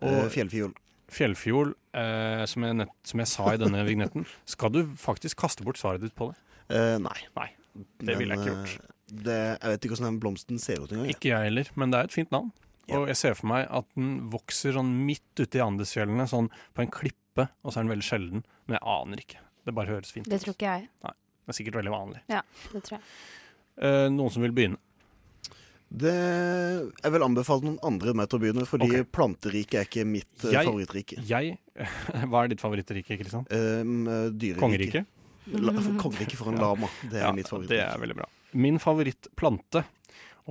S7: Eh,
S5: Og
S7: Fjellfjord.
S5: fjellfjol, eh, som, jeg nett, som jeg sa i denne vignetten, skal du faktisk kaste bort svaret ditt på det?
S7: Eh, nei.
S5: Nei, det ville jeg ikke
S7: eh,
S5: gjort.
S7: Det, jeg vet ikke hvordan den blomsten ser ut engang. jeg.
S5: Ikke jeg heller, men det er et fint navn.
S7: Ja.
S5: Og jeg ser for meg at den vokser sånn midt ute i Andesfjellene, sånn på en klippe kjempe, og så er den veldig sjelden. Men jeg aner ikke. Det bare høres fint ut.
S6: Det tror ikke jeg.
S5: Det er sikkert veldig vanlig.
S6: Det tror jeg.
S5: Eh, noen som vil begynne?
S7: Det, jeg vil anbefale noen andre enn meg til å begynne, fordi
S5: Ok.
S7: planteriket er ikke mitt eh,
S5: Jeg-
S7: favorittrike.
S5: Jeg Hva er ditt favorittrike, Kristian?
S7: Um, dyreriket.
S5: Kongerike?
S7: La, for kongeriket for en
S5: Ja.
S7: lama. Det er
S5: Ja,
S7: mitt
S5: Det
S7: favorittrike.
S5: er veldig bra. Min favorittplante,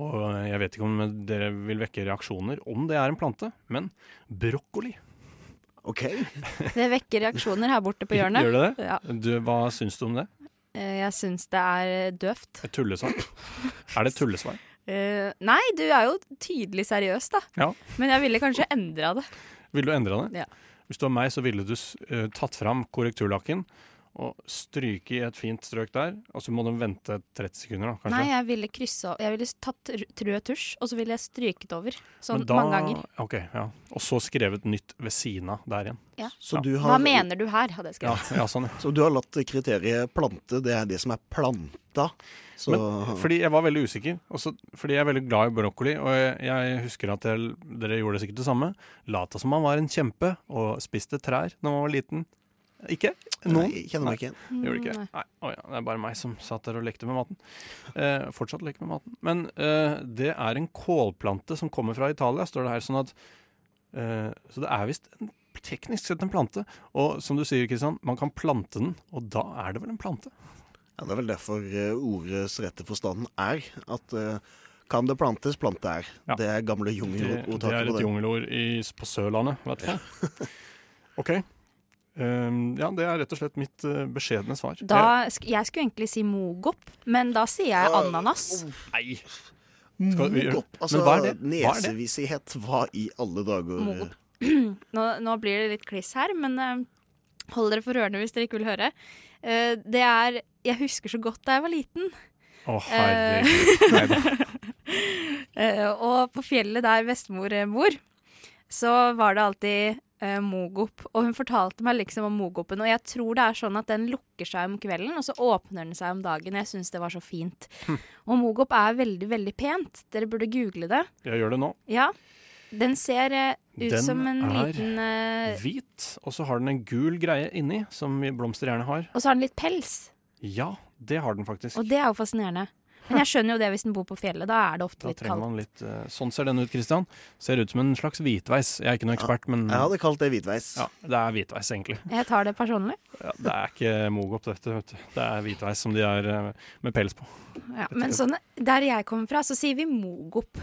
S5: og jeg vet ikke om dere vil vekke reaksjoner om det er en plante, men brokkoli.
S7: OK.
S6: Det vekker reaksjoner her borte på hjørnet.
S5: Gjør det det?
S6: Ja.
S5: Du, hva syns du om det?
S6: Eh, Jeg syns det er eh, døvt.
S5: Et tullesvar? Er det et tullesvar?
S6: Eh, Nei, du er jo tydelig seriøs, da.
S5: Ja.
S6: Men jeg ville kanskje endra det.
S5: Ville du endra det?
S6: Ja.
S5: Hvis du var meg, så ville du s- eh, tatt fram korrekturlakken og stryke i et fint strøk der, og så må du vente 30 sekunder, da, kanskje.
S6: Nei, jeg ville kryssa Jeg ville tatt r- rød tusj, og så ville jeg stryket over. Sånn
S5: Men da-
S6: mange ganger.
S5: Ok, ja. Og så skrevet nytt ved siden av der igjen.
S7: Så,
S5: Ja.
S7: du
S6: Hva
S7: har,
S6: mener du her, hadde jeg
S5: Ja,
S6: skrevet.
S5: ja sånn. ja.
S7: så du har latt kriteriet plante, det er det som er planta. Så
S5: Fordi jeg var veldig usikker, og så- fordi jeg er veldig glad i brokkoli, og jeg, jeg husker at jeg, dere gjorde det sikkert det samme. Lata som man var en kjempe og spiste trær når man var liten. Ikke?
S7: Nei,
S5: Noen?
S7: jeg kjenner meg ikke igjen.
S5: Gjorde ikke det? Nei. Å ja, det er bare meg som satt der og lekte med maten. Eh, fortsatt leker med maten. Men eh, det er en kålplante som kommer fra Italia, står det her. Sånn at eh, Så det er visst en- teknisk sett en plante. Og som du sier, Kristian, man kan plante den, og da er det vel en plante?
S7: Ja, det er vel derfor eh, ordets rette forstanden er at eh, kan det plantes, plante er.
S5: Ja.
S7: Det er gamle
S5: Det, det
S7: jungelordtaket
S5: er
S7: på
S5: et
S7: det.
S5: jungelord i, på Sørlandet, vet du. OK. Um, ja, det er rett og slett mitt eh, beskjedne svar.
S6: Da, sk- jeg skulle egentlig si mogop, men da sier jeg ananas.
S5: Eh, Nei! Skal vi gjøre-
S7: Mogop. Altså,
S5: Men hva er det? Hva er det?
S7: nesevisighet. Hva i alle dager?
S6: Mogop. Nå, nå blir det litt kliss her, men eh, hold dere for ørene hvis dere ikke vil høre. Eh, det er Jeg husker så godt da jeg var liten.
S5: Å,
S6: Eh,
S5: herregud. Nei, da.
S6: Eh, og på fjellet der bestemor eh, bor, så var det alltid eh, mogop. Og hun fortalte meg liksom om mogopen. Og jeg tror det er sånn at den lukker seg om kvelden, og så åpner den seg om dagen. Jeg syns det var så fint.
S5: Hm.
S6: Og mogop er veldig, veldig pent. Dere burde google det.
S5: Jeg gjør det nå.
S6: Ja. Den ser eh, ut
S5: Den
S6: som en
S5: er
S6: liten eh,
S5: hvit, og så har den en gul greie inni, som blomster gjerne har.
S6: Og så har den litt pels.
S5: Ja, det har den faktisk.
S6: Og det er jo fascinerende. Men jeg skjønner jo det hvis den bor på fjellet. Da er det ofte
S5: Da
S6: litt
S5: trenger
S6: kaldt.
S5: man litt eh, Sånn ser den ut, Christian. Ser ut som en slags hvitveis. Jeg er ikke noen ekspert, men
S7: Jeg hadde kalt det hvitveis.
S5: ja, det er hvitveis, egentlig.
S6: Jeg tar det personlig.
S5: Ja, det er ikke mogop, dette. Vet du. Det er hvitveis som de er eh, med pels på.
S6: Ja, men sånn, der jeg kommer fra, så sier vi mogop.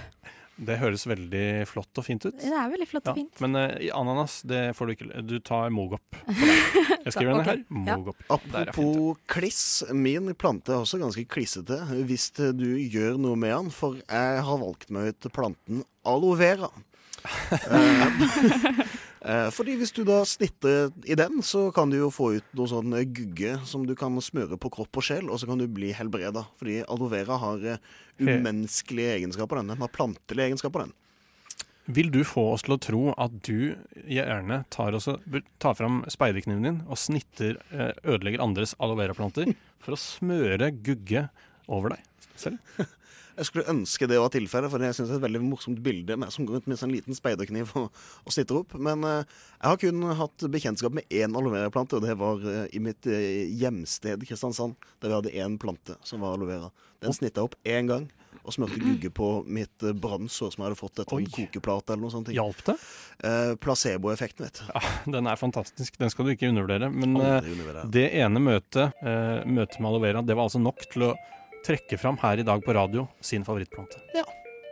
S5: Det høres veldig flott og fint ut.
S6: Det er veldig flott
S5: Ja,
S6: og fint.
S5: men eh, i ananas, det får du ikke Du tar mogop. på deg. Jeg skriver
S6: Da,
S5: den her.
S6: ja.
S5: Mogop. Der er fint,
S7: Apropos kliss, min plante er også ganske klissete hvis du gjør noe med den, for jeg har valgt meg ut planten aloe vera. Eh, eh, Fordi hvis du da snitter i den, så kan du jo få ut noe sånn gugge som du kan smøre på kropp og sjel, og så kan du bli helbreda. Fordi aloe vera har eh, umenneskelige egenskaper, den. Den har plantelige egenskaper, den.
S5: Vil du få oss til å tro at du gjerne tar, også, tar fram speiderkniven din og snitter, eh, ødelegger andres aloe vera-planter for å smøre gugge over deg selv?
S7: Jeg skulle ønske det var tilfellet, for jeg synes det er et veldig morsomt bilde med som går rundt med en sånn liten speiderkniv og, og snitter opp. Men eh, jeg har kun hatt bekjentskap med én aloe vera-plante, og det var eh, i mitt eh, hjemsted Kristiansand, der vi hadde én plante som var aloe vera. Den snitta jeg opp én gang. Og smurte gugge på mitt eh, brannsår som jeg hadde fått etter
S5: Oi.
S7: en kokeplate eller noe sånt.
S5: Hjalp det?
S7: Eh, Placeboeffekten, vet du.
S5: Ja, den er fantastisk. Den skal du ikke undervurdere. Men eh,
S7: Aldri undervurder.
S5: det ene møtet, eh, møtet med aloe vera, det var altså nok til å trekke fram her i dag på radio sin favorittplante.
S7: Ja.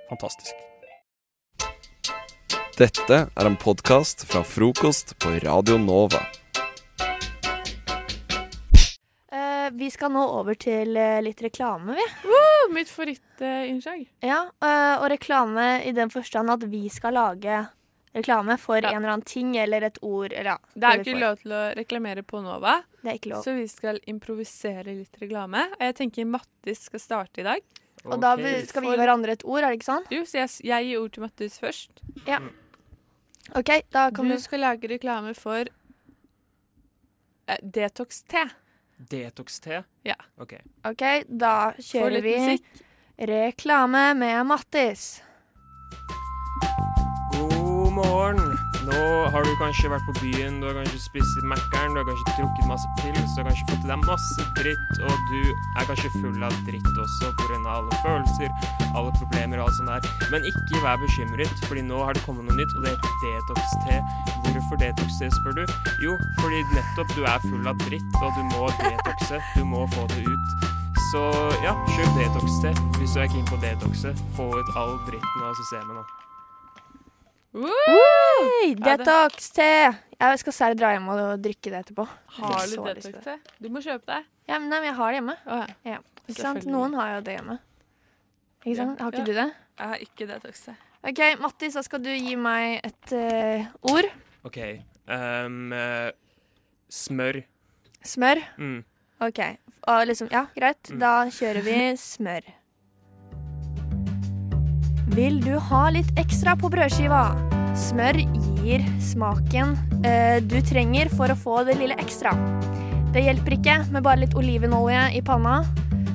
S5: Fantastisk.
S1: Dette er en podkast fra frokost på Radio Nova.
S9: Eh, vi skal nå over til eh, litt reklame, vi.
S10: Å, Mitt favorittinnslag.
S9: Ja, eh, og reklame i den forstand at vi skal lage reklame for
S10: Ja.
S9: en eller annen ting eller et ord. Eller, ja,
S10: Det er jo
S9: vi
S10: ikke
S9: får.
S10: lov til å reklamere på Nova,
S9: Det er ikke lov.
S10: så vi skal improvisere litt reklame. Og jeg tenker Mattis skal starte i dag.
S9: Og da vi- skal vi gi hverandre et ord, er det ikke sånn?
S10: Jo, så jeg, jeg gir ord til Mattis først.
S9: OK, da kan
S10: Du
S9: du
S10: skal lage reklame for eh, Detox-te.
S11: Detox-te?
S10: Ja.
S11: Ok.
S9: OK, da
S10: Få
S9: kjører
S10: litt
S9: vi
S10: musikk.
S9: reklame med Mattis.
S11: God morgen. Nå har du kanskje vært på byen, du har kanskje spist Mækkern, du har kanskje drukket masse pils, du har kanskje fått i deg masse dritt, og du er kanskje full av dritt også pga. alle følelser, alle problemer og alt sånt der. Men ikke vær bekymret, fordi nå har det kommet noe nytt, og det heter detox-te. Hvorfor detox-te, spør du? Jo, fordi nettopp du er full av dritt, og du må detoxe. Du må få det ut. Så ja, kjøp detox-te hvis du er keen på detoxe. Få ut all dritten av systemet nå.
S9: Woo! Detox-te! Jeg skal særlig dra hjem og drikke det etterpå.
S10: Har du
S9: Så lyst til det.
S10: detox-te? Du må kjøpe det.
S9: Ja, men nei, men jeg har det hjemme.
S10: Å,
S9: Ja. Ikke sant?
S10: Selvfølgelig.
S9: Noen har jo det hjemme. Ikke sant? Har
S10: Ja.
S9: ikke du det?
S10: Jeg har ikke detox-te.
S9: OK, Mattis, da skal du gi meg et eh, ord.
S11: OK. ehm, eh, smør.
S9: Smør.
S11: Mm.
S9: OK. Og liksom, ja, greit. Da kjører vi smør. Vil du ha litt ekstra på brødskiva? Smør gir smaken eh, du trenger for å få det lille ekstra. Det hjelper ikke med bare litt olivenolje i panna.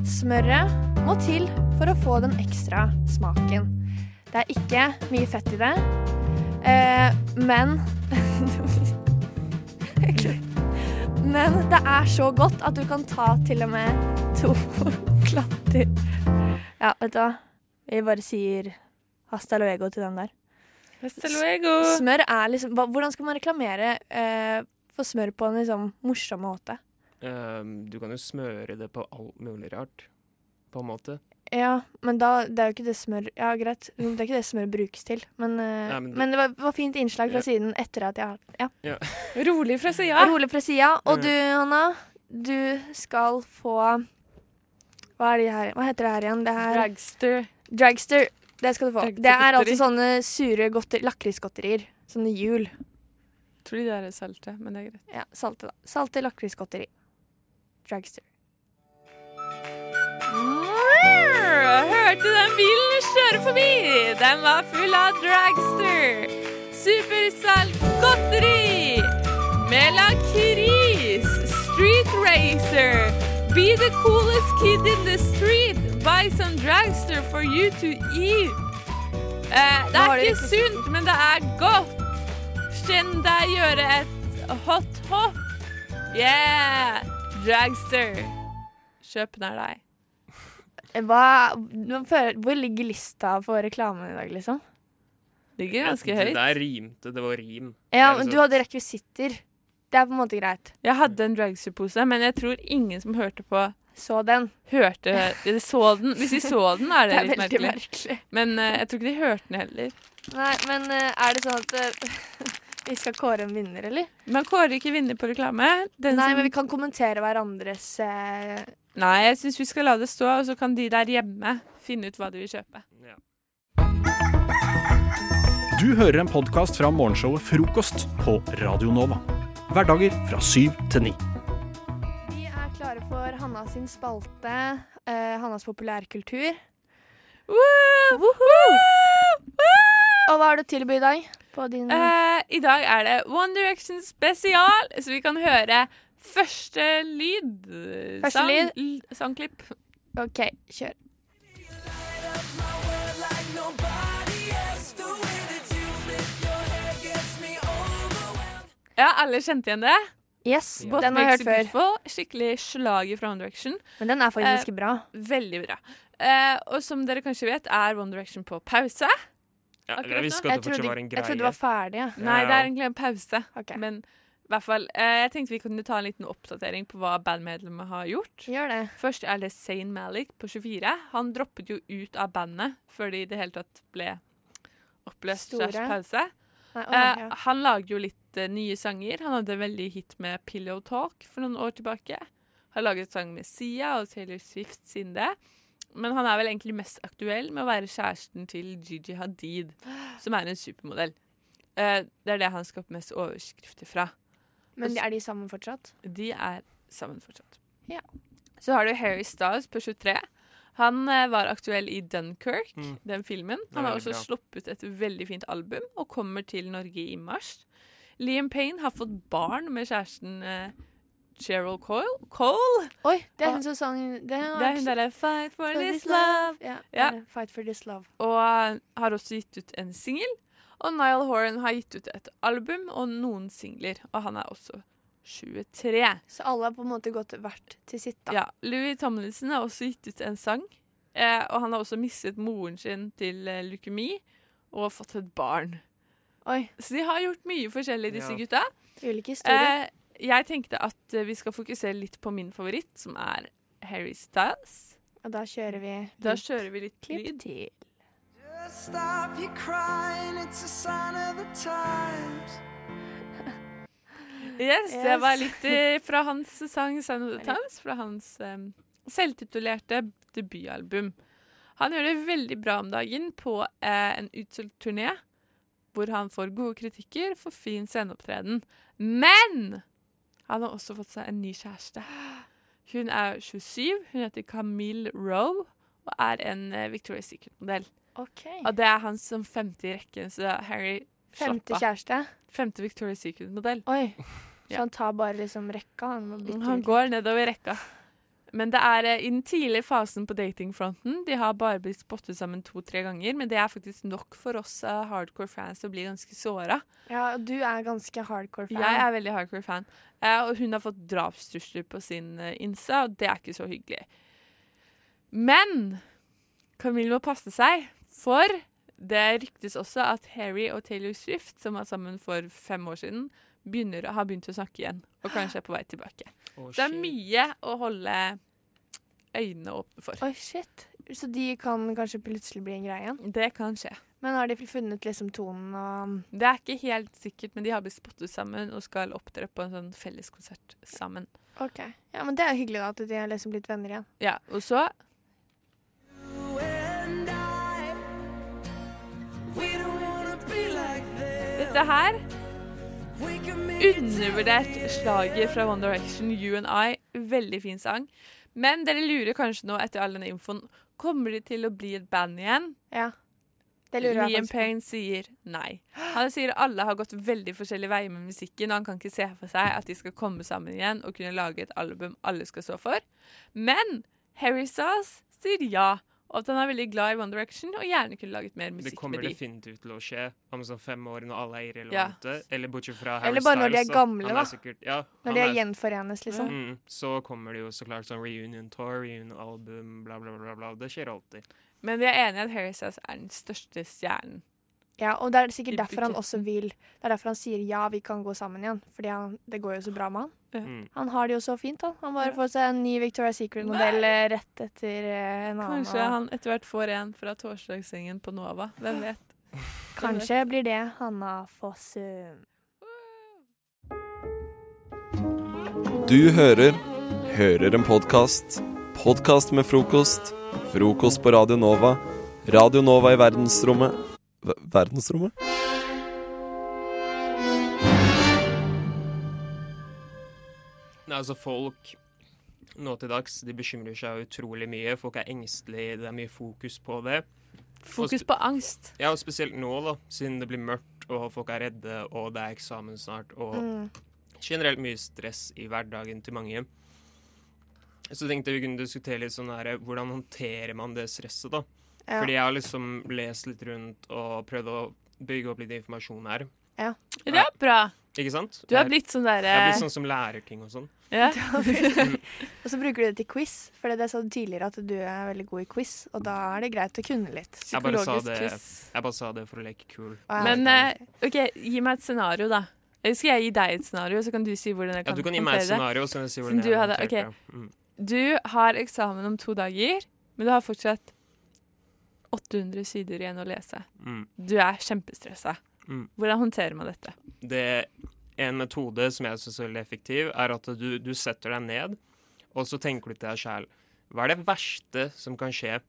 S9: Smøret må til for å få den ekstra smaken. Det er ikke mye fett i det, eh, men Men det er så godt at du kan ta til og med to klatter. Ja, vet du hva? Vi bare sier hasta luego til den der.
S10: Hasta luego.
S9: S- Smør er liksom hva- Hvordan skal man reklamere eh, for smør på en liksom morsom måte?
S11: Ehm, du kan jo smøre det på alt mulig rart, på en måte.
S9: Ja, men da Det er jo ikke det smør Ja, greit. Jo, Det er ikke det smør brukes til. Men, eh,
S11: Nei, men
S9: men, det
S11: det-
S9: var, var fint innslag fra
S11: Ja.
S9: siden etter at jeg har Ja.
S11: Ja.
S10: Rolig fra sida.
S9: Rolig fra sida. Og
S11: Mm.
S9: du, Hanna, du skal få Hva er det her Hva heter det her igjen? Det her
S10: Dragster.
S9: Dragster. Det skal du få.
S10: Dragster
S9: Det er
S10: godteri.
S9: altså sånne sure godter, lakrisgodterier. Sånne hjul.
S10: Tror de der er salte, men det er greit.
S9: Ja, salte, da. Salte lakrisgodteri. Dragster.
S10: Hørte du den bilen kjøre forbi? Den var full av dragster. Supersalt godteri. Med lakris. Street racer. Be the coolest kid in the street. Buy some dragster for you to eat. Eh, det
S9: Nå har
S10: er
S9: de
S10: ikke sunt, men det er godt. Kjenn deg gjøre et hot hop. Yeah! Dragster. Kjøp nær deg.
S9: Hva, nå føler- hvor ligger lista for reklamen i dag, liksom?
S10: Ligger ganske
S11: Det
S10: høyt.
S11: der rimte, det var rim.
S9: Ja,
S11: Er det
S9: men
S11: så-
S9: du hadde rekvisitter. Det er på en måte greit.
S10: Jeg hadde en dragsterpose, men jeg tror ingen som hørte på,
S9: Så den.
S10: hørte eller så den. Hvis de så den, er
S9: Det
S10: det
S9: er
S10: litt
S9: veldig
S10: merkelig.
S9: merkelig.
S10: Men eh, jeg tror ikke de hørte den heller.
S9: Nei, men eh, er det sånn at eh, vi skal kåre en vinner, eller?
S10: Man kårer ikke vinner på reklame. Den
S9: Nei,
S10: som-
S9: men vi kan kommentere hverandres eh,
S10: Nei, jeg syns vi skal la det stå, og så kan de der hjemme finne ut hva de vil kjøpe.
S11: Ja.
S5: Du hører en podkast fra morgenshowet Frokost på Radio Nova. Hverdager fra syv til ni.
S9: Vi er klare for Hanna sin spalte, eh, Hannas populærkultur. Og hva har du å tilby i dag? På din
S10: Eh, I dag er det One Direction spesial, så vi kan høre første lyd. Eh,
S9: Første lyd.
S10: l- Sangklipp.
S9: OK, kjør.
S10: Ja, alle kjente igjen det.
S9: Yes,
S10: What
S9: den har jeg
S10: makes
S9: hørt
S10: you
S9: før.
S10: beautiful. Skikkelig slager fra One Direction. Eh,
S9: Men den er faktisk ganske bra.
S10: Veldig bra. Eh, og som dere kanskje vet, er One Direction på pause.
S11: Ja,
S10: Akkurat
S11: jeg visste
S10: nå.
S11: ikke
S9: Jeg
S11: at det fortsatt
S9: trodde,
S11: var en
S9: jeg
S11: greie.
S9: trodde det var ferdig. Ja.
S10: Nei,
S11: Ja.
S10: det er egentlig en pause.
S9: Ok.
S10: Men i hvert fall, eh, jeg tenkte vi kunne ta en liten oppdatering på hva bandmedlemmet har gjort.
S9: Gjør det.
S10: Først er det Zayn Malik på 24. Han droppet jo ut av bandet før de i det hele tatt ble oppløst.
S9: Store.
S10: slash pause.
S9: Nei, å,
S10: Eh,
S9: ja.
S10: han lager jo litt eh, nye sanger. Han hadde en veldig hit med Pillow Talk for noen år tilbake. Har laget sang med Sia og Taylor Swift siden det. Men han er vel egentlig mest aktuell med å være kjæresten til Gigi Hadid, som er en supermodell. Eh, det er det han skaper mest overskrifter fra.
S9: Men er de sammen fortsatt?
S10: De er sammen fortsatt.
S9: Ja.
S10: Så har du Harry Styles på 23. Han eh, var aktuell i Dunkerque,
S11: Mm.
S10: den filmen.
S11: Den
S10: Han
S11: er
S10: har
S11: veldig
S10: også sluppet et veldig fint album og kommer til Norge i mars. Liam Payne har fått barn med kjæresten eh, Cheryl Cole. Cole?
S9: Oi, det
S10: Å.
S9: er hun som sang Det
S10: Det er hun der Fight for
S9: For
S10: this
S9: this
S10: love. eh,
S9: Ja,
S10: Ja.
S9: det er Fight for this love.
S10: Og har også gitt ut en singel. Og Niall Horan har gitt ut et album og noen singler, og han er også 23.
S9: Så alle har på en måte gått hvert til sitt, da.
S10: Ja, Louis Tomlinson har også gitt ut en sang, eh, og han har også mistet moren sin til eh, leukemi og fått et barn. Så de har gjort mye forskjellig, disse
S9: Ja.
S10: gutta.
S9: Ulike historier.
S10: Eh, jeg tenkte at eh, vi skal fokusere litt på min favoritt, som er Harry Styles.
S9: Og da kjører vi
S10: Da kjører vi litt
S9: Klipp
S10: lyd.
S12: Stop your crying, it's a sign of the times.
S10: Yes, det
S12: Yes.
S10: var litt eh, fra hans sang 'Sign of the Times', fra hans eh, selvtitulerte debutalbum. Han gjør det veldig bra om dagen på eh, en utsolgt turné, hvor han får gode kritikker for fin sceneopptreden. Men han har også fått seg en ny kjæreste. Hun er 27, hun heter Camille Rowe og er en eh, Victoria's Secret-modell.
S9: Ok.
S10: Og det er han som femte i rekken, så Harry slapp
S9: Femte
S10: av.
S9: kjæreste?
S10: Femte Victoria's Secret-modell.
S9: Oi. Så han tar bare liksom rekka? Han, må bytte
S10: Han
S9: ut.
S10: går nedover rekka. Men det er eh, i den tidlige fasen på datingfronten. De har bare blitt spottet sammen to-tre ganger, men det er faktisk nok for oss eh, hardcore fans til å bli ganske såra.
S9: Ja, og du er ganske hardcore fan.
S10: Jeg er veldig hardcore fan. Eh, og hun har fått drapstrusler på sin eh, Insta, og det er ikke så hyggelig. Men Camille må passe seg, for det ryktes også at Harry og Taylor Swift, som var sammen for fem år siden, begynner, har begynt å snakke igjen, og kanskje er på vei tilbake.
S9: Å,
S10: det er
S9: shit.
S10: mye å holde øynene åpne for.
S9: Oi, shit. Så de kan kanskje plutselig bli en greie igjen?
S10: Det kan skje.
S9: Men har de funnet liksom tonen og
S10: Det er ikke helt sikkert, men de har blitt spottet sammen og skal opptre på en sånn felleskonsert sammen.
S9: OK. Ja, men det er jo hyggelig da at de har liksom blitt venner igjen.
S10: Ja, og så
S12: We don't wanna be like
S10: Dette her Undervurdert slaget fra One Direction, You and I. Veldig fin sang. Men dere lurer kanskje nå etter all denne infoen Kommer de til å bli et band igjen?
S9: Ja. Det lurer jeg
S10: Liam
S9: faktisk på.
S10: Payne sier nei. Han sier alle har gått veldig forskjellige veier med musikken, og han kan ikke se for seg at de skal komme sammen igjen og kunne lage et album alle skal stå for. Men Harry Sauce sier ja, og at han er veldig glad i One Direction og gjerne kunne laget mer
S11: Det
S10: musikk
S11: kommer
S10: med de.
S11: definitivt til å skje om sånn fem år når alle er irrelevante. Eller bortsett fra Harry
S9: Eller bare når de er
S11: Styles,
S9: gamle,
S11: Han
S9: da.
S11: er sikkert- ja,
S9: Når
S11: han
S9: de
S11: er-
S9: gjenforenes, liksom.
S11: Mm, så kommer det jo så klart sånn reunion tour, reunion album, bla, bla, bla. bla. Det skjer alltid.
S10: Men vi er enige i at Harry Sauce er den største stjernen.
S9: Ja, og det er
S10: I
S9: sikkert derfor han også vil Det er derfor han sier ja, vi kan gå sammen igjen. Fordi han, det går jo så bra med han.
S11: Mm.
S9: Han har det jo så fint, han. Han bare får seg en ny Victoria's Secret-modell eh, rett etter eh, en annen.
S10: Kanskje han etter hvert får en fra torsdagssengen på Nova. Hvem vet?
S9: Kanskje blir det Hanna Fossum.
S1: Du hører Hører en podkast. Podkast med frokost. Frokost på Radio Nova. Radio Nova i verdensrommet Ver- Verdensrommet?
S11: Nei, altså folk nå til dags, de bekymrer seg utrolig mye. Folk er engstelige, det er mye fokus på det.
S10: Fokus på angst.
S11: Ja, og spesielt nå, da, siden det blir mørkt, og folk er redde, og det er eksamen snart, og
S10: Mm.
S11: generelt mye stress i hverdagen til mange. Så tenkte jeg vi kunne diskutere litt sånn her, hvordan håndterer man det stresset, da?
S9: Ja.
S11: Fordi jeg har liksom lest litt rundt og prøvd å bygge opp litt informasjon her.
S9: Ja.
S10: Det er bra.
S11: Ikke sant?
S10: Du er
S11: Jeg-
S10: blitt sånn derre-
S11: Jeg er blitt sånn som lærer ting og sånn.
S10: Ja.
S9: og så bruker du det til quiz, for det sa du tidligere at du er veldig god i quiz. Og da er det greit å kunne litt.
S11: Jeg bare, sa det,
S10: quiz.
S11: jeg bare sa det for å leke kul.
S10: Men eh, OK, gi meg et scenario, da. Eller skal jeg gi deg et scenario, så kan du si hvordan jeg
S11: Ja,
S10: kan
S11: du kan gi meg
S10: håndtere eh,
S11: et
S10: det?
S11: scenario, så kan jeg si hvordan
S10: Siden
S11: jeg
S10: du hadde,
S11: håndterte
S10: ok.
S11: det. Mm.
S10: Du har eksamen om to dager, men du har fortsatt 800 sider igjen å lese.
S11: Mm.
S10: Du er kjempestressa.
S11: Mm.
S10: Hvordan håndterer man dette?
S11: det en metode som jeg syns er veldig effektiv, er at du, du setter deg ned, og så tenker du til deg sjæl Hva er det verste som kan skje?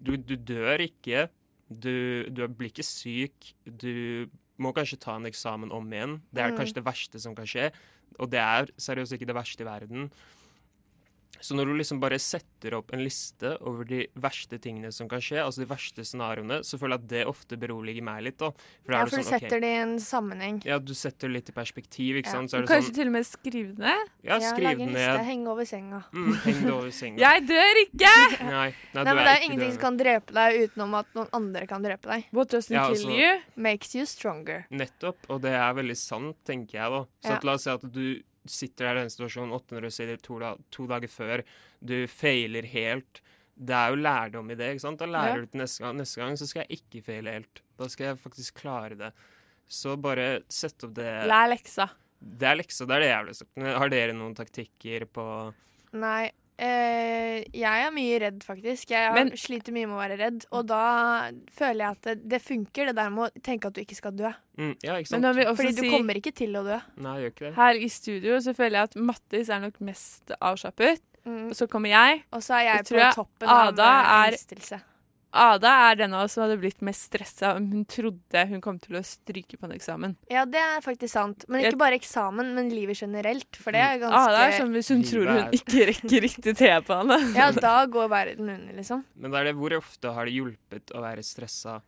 S11: Du, du dør ikke, du, du blir ikke syk, du må kanskje ta en eksamen om igjen. Det er
S13: Mm.
S11: kanskje det verste som kan skje, og det er seriøst ikke det verste i verden. Så når du liksom bare setter opp en liste over de verste tingene som kan skje, altså de verste scenarioene, så føler jeg at det ofte beroliger meg litt. da. da
S9: Ja,
S11: er det
S9: for du
S11: sånn, ok,
S9: setter det i en sammenheng.
S11: Ja, du setter litt i perspektiv, ikke
S9: Ja.
S11: sant. Så er det
S10: Kanskje
S11: sånn
S10: til og med skrive det ned?
S11: Ja, skriv
S9: lage
S11: det
S9: en liste,
S11: ned.
S9: henge over senga.
S11: Mm, heng det over senga.
S10: Jeg dør ikke!
S11: Nei, nei,
S9: Nei,
S11: du
S9: men
S11: er
S9: Det er
S11: ikke
S9: jo ingenting
S11: døende.
S9: som kan drepe deg utenom at noen andre kan drepe deg.
S10: What doesn't
S11: Ja, kill altså- you
S9: makes you stronger.
S11: Nettopp, og det er veldig sant, tenker jeg da. Så
S9: Ja.
S11: at la oss si at du sitter der i den situasjonen 800 sider to, da, to dager før, du feiler helt. Det er jo lærdom i det, ikke sant? Da lærer
S10: Ja.
S11: du til neste gang. Neste gang så skal jeg ikke feile helt. Da skal jeg faktisk klare det. Så bare sett opp det.
S10: Lær leksa.
S11: Det er leksa, det er det jeg ville sagt. Men Har dere noen taktikker på
S9: Nei, eh, jeg er mye redd, faktisk. Jeg har-
S10: Men-
S9: sliter mye med å være redd. Og da føler jeg at det, det funker, det der med å tenke at du ikke skal dø.
S11: mm, Ja, ikke
S10: Men
S11: sant?
S10: da vil jeg også
S9: Fordi du
S10: si-
S9: kommer ikke til å dø.
S11: Nei, jeg gjør ikke det.
S10: Her i studio så føler jeg at Mattis er nok mest avslappet.
S9: Mm.
S10: Og så kommer jeg.
S9: Og så er jeg
S10: tror
S9: på toppen av,
S10: Ada
S9: eh,
S10: er-
S9: engstelse.
S10: Ada er den av oss som hadde blitt mest stressa om hun trodde hun kom til å stryke på en eksamen.
S9: Ja, det er faktisk sant. Men
S10: Jeg- Mm.
S9: ikke bare eksamen, men livet generelt. For det er ganske
S10: Ada er som hvis hun
S11: Livet
S10: tror hun
S11: er-
S10: ikke rekker riktig te på henne.
S9: Ja, da går verden under, liksom.
S11: Men det er det, hvor ofte har det hjulpet å være stressa?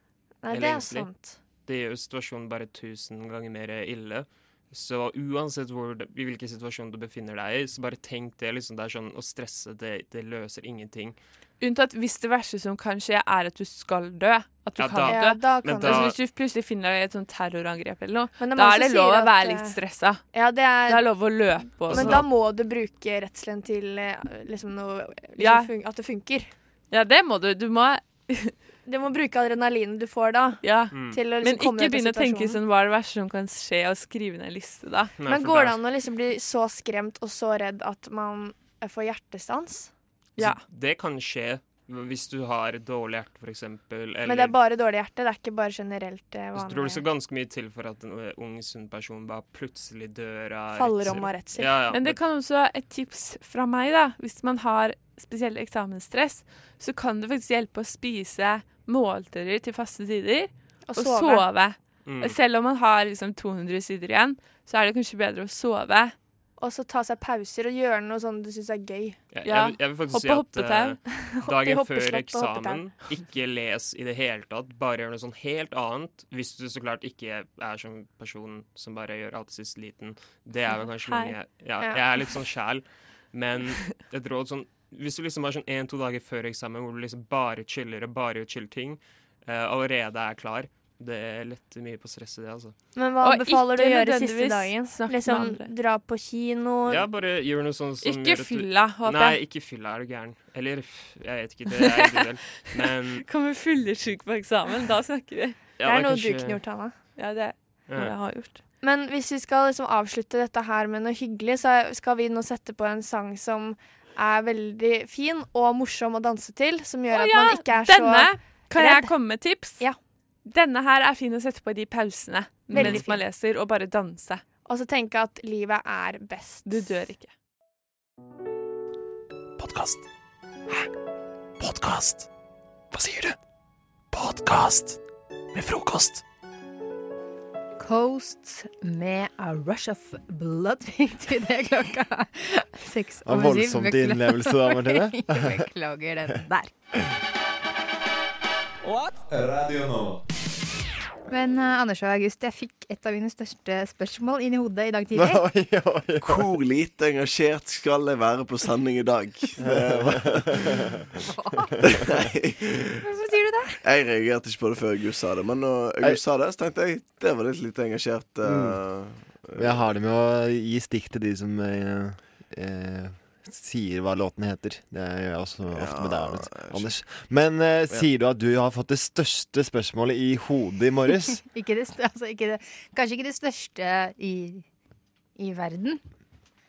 S9: Nei,
S11: eller
S9: det er
S11: engstelig?
S9: sant.
S11: Det gjør jo situasjonen bare tusen ganger mer ille. Så uansett hvor, det- i hvilken situasjon du befinner deg i, så bare tenk det. liksom Det er sånn, Å stresse, det, det løser ingenting.
S10: Unntatt hvis det verste som kan skje, er at du skal dø. At du
S11: Ja,
S10: kan
S11: da-
S10: dø.
S11: Ja, da kan Men du- da-
S10: altså, hvis du plutselig finner deg i et sånt terrorangrep eller noe,
S9: Men det er
S10: da
S9: mange
S10: er det
S9: som
S10: lov å
S9: sier at,
S10: være litt
S9: eh,
S10: stressa.
S9: Ja, det er,
S10: Det er lov å løpe og
S9: Men
S10: sånn.
S9: da må du bruke redselen til eh, liksom noe liksom
S10: Ja.
S9: fun At det funker.
S10: Ja, det må du. Du må
S9: Du må bruke adrenalinet du får da.
S10: Ja.
S11: Mm.
S9: Til å liksom
S10: Men
S9: komme
S10: ikke
S9: deg ut
S10: begynne
S9: av
S10: å tenke
S9: situasjonen.
S10: sånn hva er det verste som kan skje, og skrive ned en liste da.
S9: Men går det an å liksom bli så skremt og så redd at man eh, får hjertestans?
S10: Ja.
S11: Det kan skje hvis du har dårlig hjerte, f.eks. Eller
S9: Men det er bare dårlig hjerte, det er ikke bare generelt eh,
S11: så tror du det
S9: vanlig.
S11: skal ganske mye til for at en eh, ung, sunn person bare plutselig dør av
S9: Faller om av redsel.
S11: Ja, ja,
S10: Men det kan også et tips fra meg, da. Hvis man har spesielt eksamensstress, så kan det faktisk hjelpe å spise måltider til faste tider.
S9: Og
S10: Og
S9: sove.
S10: sove.
S9: Mm.
S10: Selv om man har liksom 200 sider igjen, så er det kanskje bedre å sove.
S9: Og så ta seg pauser og gjøre noe sånn du syns er gøy.
S11: Jeg, jeg, vil- jeg vil faktisk si at eh, dagen før eksamen, ikke les i det hele tatt. Bare gjør noe sånn helt annet. Hvis du så klart ikke er som person som bare gjør alt sist liten. Det er vel kanskje
S10: Hei.
S11: mange ja,
S10: Ja.
S11: Jeg er litt sånn sjæl, men et råd sånn Hvis du liksom har sånn én-to dager før eksamen hvor du liksom bare chiller og bare gjør chill ting, eh, allerede er klar, det letter mye på stresset, det, altså.
S9: Men hva
S10: Og
S9: anbefaler du å
S10: ikke
S9: gjøre siste
S10: nødvendigvis
S9: dagen?
S10: snakke med
S9: Liksom
S10: andre.
S9: dra på kino?
S11: Ja, bare gjør noe sånn som
S10: Ikke
S11: gjør at du-
S10: fylla, håper
S11: Nei,
S10: jeg.
S11: ikke fylla, er du gæren. Eller f- jeg vet ikke, det er en god del. Men
S10: Kommer fyllesyk på eksamen, da snakker vi.
S11: Ja, Det er det er noe du kanskje- kunne gjort,
S9: Hanna.
S10: Ja, det
S11: Ja.
S10: er noe jeg har gjort.
S9: Men hvis vi skal liksom avslutte dette her med noe hyggelig, så skal vi nå sette på en sang som er veldig fin og morsom å danse til, som gjør
S10: Å
S9: at
S10: ja,
S9: man ikke er
S10: denne
S9: så
S10: Kan jeg
S9: redd.
S10: komme med tips? Denne her er fin å sette på i de pausene
S9: Veldig
S10: mens man leser, og bare danse.
S9: Og så tenke at livet er best.
S10: Du dør ikke.
S1: Podkast. Hæ? Podkast? Hva sier du? Podkast med frokost.
S13: Coast med A Rush of Blood fikk du det klokka seks
S14: Det var
S13: over syv.
S14: voldsomt i
S13: Beklager.
S14: innlevelse da, Martine.
S13: Beklager den der.
S1: Radio Nova.
S13: Men eh, Anders og August, jeg fikk et av mine største spørsmål inn i hodet i dag tidlig.
S7: Hvor lite engasjert skal jeg være på sending i dag? Nei,
S13: Hvorfor sier du det?
S7: jeg reagerte ikke på det før August sa det, men når August sa det, så tenkte jeg det var litt lite engasjert. eh,
S15: Eh,
S14: Men jeg har det med å gi stikk til de som eh, eh, sier hva låten heter. Det gjør jeg også ofte med deg, vet du, Anders. Men eh, sier du at du har fått det største spørsmålet i hodet i morges?
S13: Ikke det, stør- altså, ikke det, kanskje ikke det største i, i verden.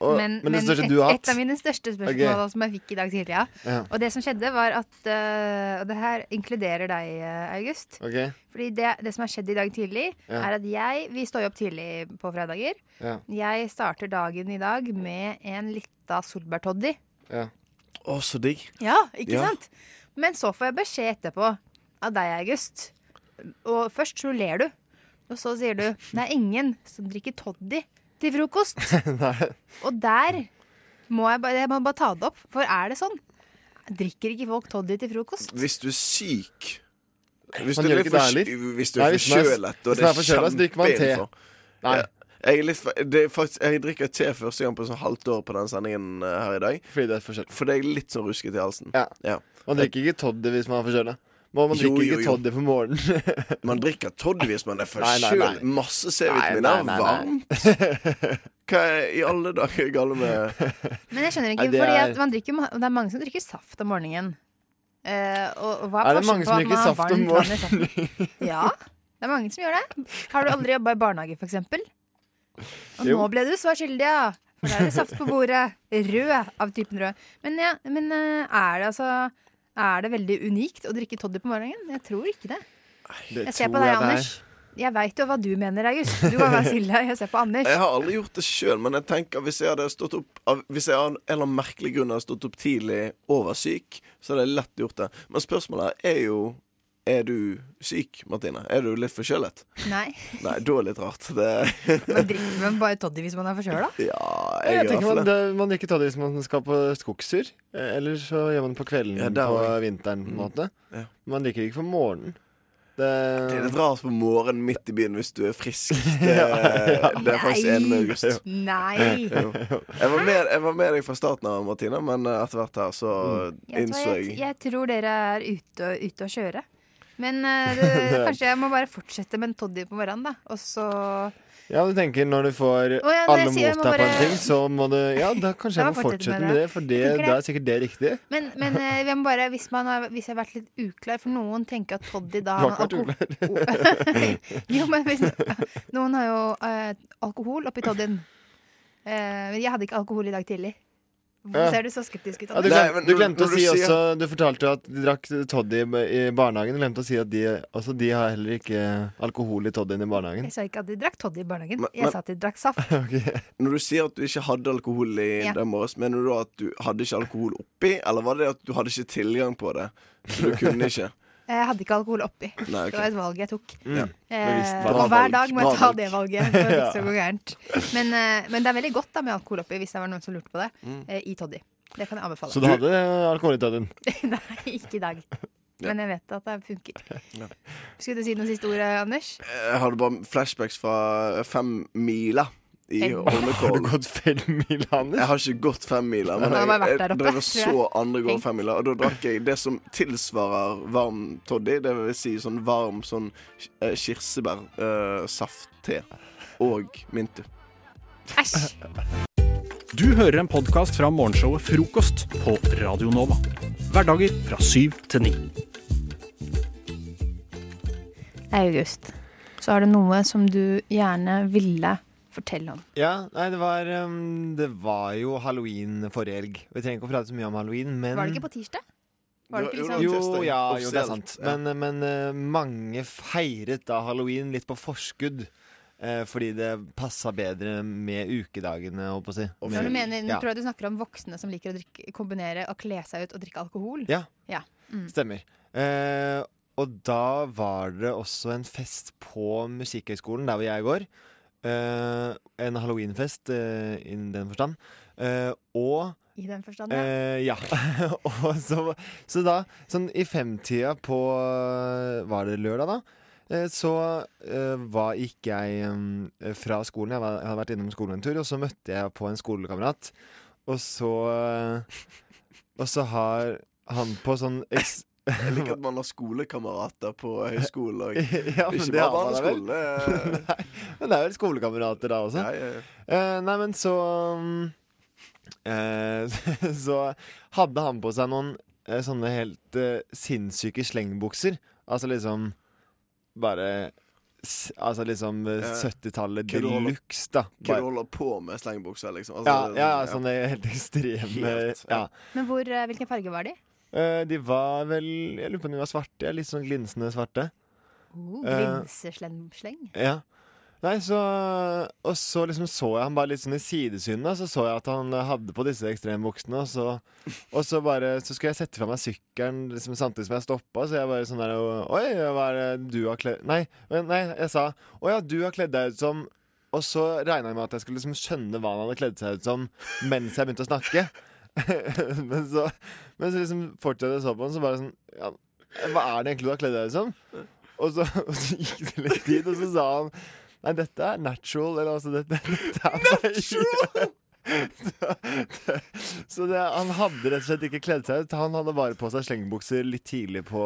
S14: Og- men det største du har hatt?
S13: et av mine største spørsmål
S14: Ok.
S13: da, som jeg fikk i dag tidlig. Ja.
S14: Ja.
S13: Og det som skjedde, var at eh, Og det her inkluderer deg, eh, August.
S14: Ok.
S13: Fordi det, det som har skjedd i dag tidlig,
S14: Ja.
S13: er at jeg Vi står jo opp tidlig på fredager.
S14: Ja.
S13: Jeg starter dagen i dag med en lita solbærtoddy.
S14: Ja.
S7: Å, så digg.
S13: Ja, ikke
S7: Ja.
S13: sant? Men så får jeg beskjed etterpå av deg, August. Og først så ler du. Og så sier du det er ingen som drikker toddy til frokost.
S14: Nei.
S13: Og der Må jeg, bare, jeg må bare ta det opp, for er det sånn? Drikker ikke folk toddy til frokost?
S15: Hvis du er syk Hvis
S14: Man
S15: du er
S14: gjør
S15: litt
S14: ikke det
S15: for-
S14: heller.
S15: Hvis du er
S14: Nei, hvis man er-
S15: forkjølet, og det
S14: hvis man
S15: er
S14: er forkjølet, så drikker man te.
S15: kjempeinnenfor.
S14: Nei.
S15: Ja. Jeg, er litt, for- det er faktisk, jeg drikker te første gang på sånn halvt år på den sendingen eh, her i dag.
S14: Fordi det er forskjellig.
S15: Fordi jeg er litt sånn rusket i halsen.
S14: Man drikker ikke toddy hvis man er forkjøla. Man
S15: Jo, jo,
S14: drikker ikke
S15: jo.
S14: toddy på morgenen.
S15: Man drikker toddy hvis man er
S14: Nei, nei, nei.
S15: forkjølet. Masse
S14: Nei,
S15: C-vitamin er
S14: nei, nei, nei.
S15: varmt. Hva er i alle dager galt med
S13: Men jeg skjønner ikke,
S15: Nei, det
S13: fordi
S15: er-
S13: at man drikker, ma- det er mange som drikker saft om morgenen. Eh, og, og hva
S14: Er det
S13: forskjellen
S14: mange som
S13: på at
S14: drikker
S13: man har
S14: saft om
S13: varmt vann i saften? ja, det er mange som gjør det. Har du aldri jobba i barnehage, for eksempel? Og
S14: Jo.
S13: nå ble du svar skyldig, ja. For der er det saft på bordet. Rød av typen rød. Men, ja, men eh, er det altså Er det veldig unikt å drikke toddy på morgenen? Jeg tror ikke det.
S15: Det
S13: jeg ser på
S15: tror
S13: deg,
S15: jeg det er.
S13: Anders. Jeg veit jo hva du mener, August. Du kan være stille. Jeg ser på Anders.
S15: Jeg har aldri gjort det sjøl, men jeg tenker hvis jeg hadde stått opp av, Hvis jeg av en eller annen merkelig grunn hadde stått opp tidlig oversyk, så hadde jeg lett gjort det. Men spørsmålet er jo Er du syk, Martine? Er du litt forkjølet?
S13: Nei.
S15: Nei, da er det litt rart. Det
S13: Man drikker man bare toddy hvis man er forkjøla?
S15: Ja,
S14: Jeg,
S15: jeg,
S14: tenker
S15: gjør
S14: man,
S15: det.
S14: det, man drikker toddy hvis man skal på skogstur. eh, Eller så gjør man det på kvelden
S15: Ja, der
S14: på
S15: også. Mm,
S14: vinteren. på en måte
S15: Ja.
S14: Man drikker ikke på morgenen. Det,
S15: Det er litt rart på morgenen midt i byen hvis du er frisk. Det, det er faktisk enig med August.
S13: Nei.
S15: Jo. Jeg var, med, jeg var med deg fra starten av, Martine, men eh, etter hvert her så
S13: Mm. Jeg tror,
S15: Mm. innså
S13: jeg,
S15: jeg
S13: jeg tror dere er ute, og- ute å kjøre. Men eh, det, kanskje jeg må bare fortsette med en toddy på morgenen, da. Og så
S14: Ja, du tenker når du får
S13: Å, ja, nei,
S14: alle
S13: jeg
S14: mot
S13: sier jeg
S14: deg
S13: må
S14: på en
S13: bare-
S14: ting, så må du Ja, da kanskje
S13: Da
S14: jeg må fortsette med det, for det,
S13: Jeg tenker
S14: da
S13: det.
S14: er sikkert det riktig.
S13: Men, men eh, jeg må bare, hvis, man har, hvis jeg har vært litt uklar, for noen tenker at toddy da
S14: Du har ikke vært
S13: alko- jo, men hvis, Noen har jo eh, alkohol oppi toddyen. Eh, men jeg hadde ikke alkohol i dag tidlig. Hvorfor
S14: Ja.
S13: ser du så skeptisk ut?
S14: Ja, du,
S13: Anders?
S14: glem, du
S15: når-
S14: glemte
S15: når
S14: å
S15: du
S14: si
S15: sier-
S14: også Du fortalte jo at de drakk toddy i barnehagen. Du glemte å si at de, også de har heller ikke alkohol i toddyen i barnehagen.
S13: Jeg sa ikke at de drakk toddy i barnehagen.
S15: Men- men-
S13: Jeg sa at de drakk saft.
S15: Når du sier at du ikke hadde alkohol i
S13: Ja.
S15: den morges, mener du da at du hadde ikke alkohol oppi, eller var det at du hadde ikke tilgang på det? Så du kunne ikke?
S13: Jeg hadde ikke alkohol oppi.
S15: Nei, ok.
S13: Det var et valg jeg tok.
S14: Mm.
S15: Ja.
S13: Eh,
S15: Bevisst valg. Bra
S13: og hver dag må
S15: valg.
S13: jeg ta
S15: Bra
S13: det
S15: valg.
S13: valget. For det
S15: Ja.
S13: ikke skal gå gærent. Men, eh, men det er veldig godt da med alkohol oppi, hvis det var noen som lurte på det,
S14: Mm.
S13: eh, i toddy. Det kan jeg anbefale.
S14: Så du hadde alkohol i toddyen?
S13: Nei, ikke i dag.
S15: Ja.
S13: Men jeg vet at det funker. Skulle du si noen siste ord, eh, Anders?
S15: Jeg hadde bare flashbacks fra fem miler i
S13: Fem-
S15: Holmenkollen.
S14: Har du gått fem miler, Anders?
S15: Jeg har ikke gått fem miler, men
S13: Du har
S15: jeg,
S13: bare vært
S15: jeg,
S13: der oppe,
S15: drev og
S13: tror jeg.
S15: så andre gå
S13: Tenk.
S15: fem miler. Og da drakk jeg det som tilsvarer varm toddy. Det vil si sånn varm sånn kirsebærsaft-te og mintu.
S13: Æsj!
S5: Du hører en podkast fra morgenshowet Frokost på Radio Nova. Hverdager fra syv til ni.
S13: August, så har du noe som du gjerne ville fortelle om.
S14: Ja, nei, det var, um, det var jo halloween forrige helg. Vi trenger ikke å prate så mye om halloween, men
S13: Var det ikke på tirsdag? Var det ikke liksom
S14: jo, ja, jo, det er sant. Men, men eh, mange feiret da halloween litt på forskudd. eh, fordi det passa bedre med ukedagene, holdt på å si.
S13: Så du mener, nå
S14: Ja.
S13: tror jeg du snakker om voksne som liker å drikke, kombinere og kle seg ut og drikke alkohol.
S14: Ja.
S13: Mm.
S14: Stemmer. Eh, og da var det også en fest på Musikkhøgskolen, der hvor jeg går. Eh, en halloweenfest, eh, innen den forstand. Eh, og
S13: I den forstand, ja.
S14: Eh, ja. og så, så da, sånn i femtida på Var det lørdag, da? Eh, Så eh, var, gikk jeg mm, fra skolen. Jeg, var, jeg hadde vært innom skolen en tur, og så møtte jeg på en skolekamerat. Og så eh, Og så har han på sånn eks
S15: Jeg liker at man har skolekamerater på høyskolen og
S14: ja, men
S15: ikke
S14: det
S15: bare
S14: har man da vel.
S15: barneskolen. det er-
S14: Men det er vel skolekamerater da også. Eh, nei, men så mm, eh, Så hadde han på seg noen eh, sånne helt eh, sinnssyke slengbukser. Altså liksom bare s- Altså liksom eh,
S15: Eh,
S14: 70-tallet
S15: hva du holder-
S14: de luxe, da.
S15: Hva du
S14: Bare,
S15: holder på med slengbukser, liksom.
S14: ja, ja, sånn sånne helt ekstreme
S15: Helt,
S14: ja.
S13: Men hvor, eh, hvilken farge var de?
S14: Eh, de var vel Jeg lurer på om de var svarte. ja, Litt sånn glinsende svarte.
S13: Oh,
S14: Eh,
S13: Glinsesleng.
S14: Ja. Nei, så Og så liksom så jeg han bare litt sånn i sidesynet, så så jeg at han hadde på disse ekstrembuksene, og så, og så bare Så skulle jeg sette fra meg sykkelen liksom, samtidig som jeg stoppa, så jeg bare sånn der Oi, hva er det du har kledd Nei, men, nei, jeg sa Å ja, du har kledd deg ut som Og så regna jeg med at jeg skulle liksom skjønne hva han hadde kledd seg ut som mens jeg begynte å snakke. men, så, men så liksom fortsatte jeg å så på han, så bare sånn ja, Hva er det egentlig du har kledd deg ut som? Og så, og så gikk det litt tid, og så sa han Nei, dette er natural. Eller altså dette, dette er Natural! Så det, han hadde rett og slett ikke kledd seg ut. Han hadde bare på seg slengebukser litt tidlig på,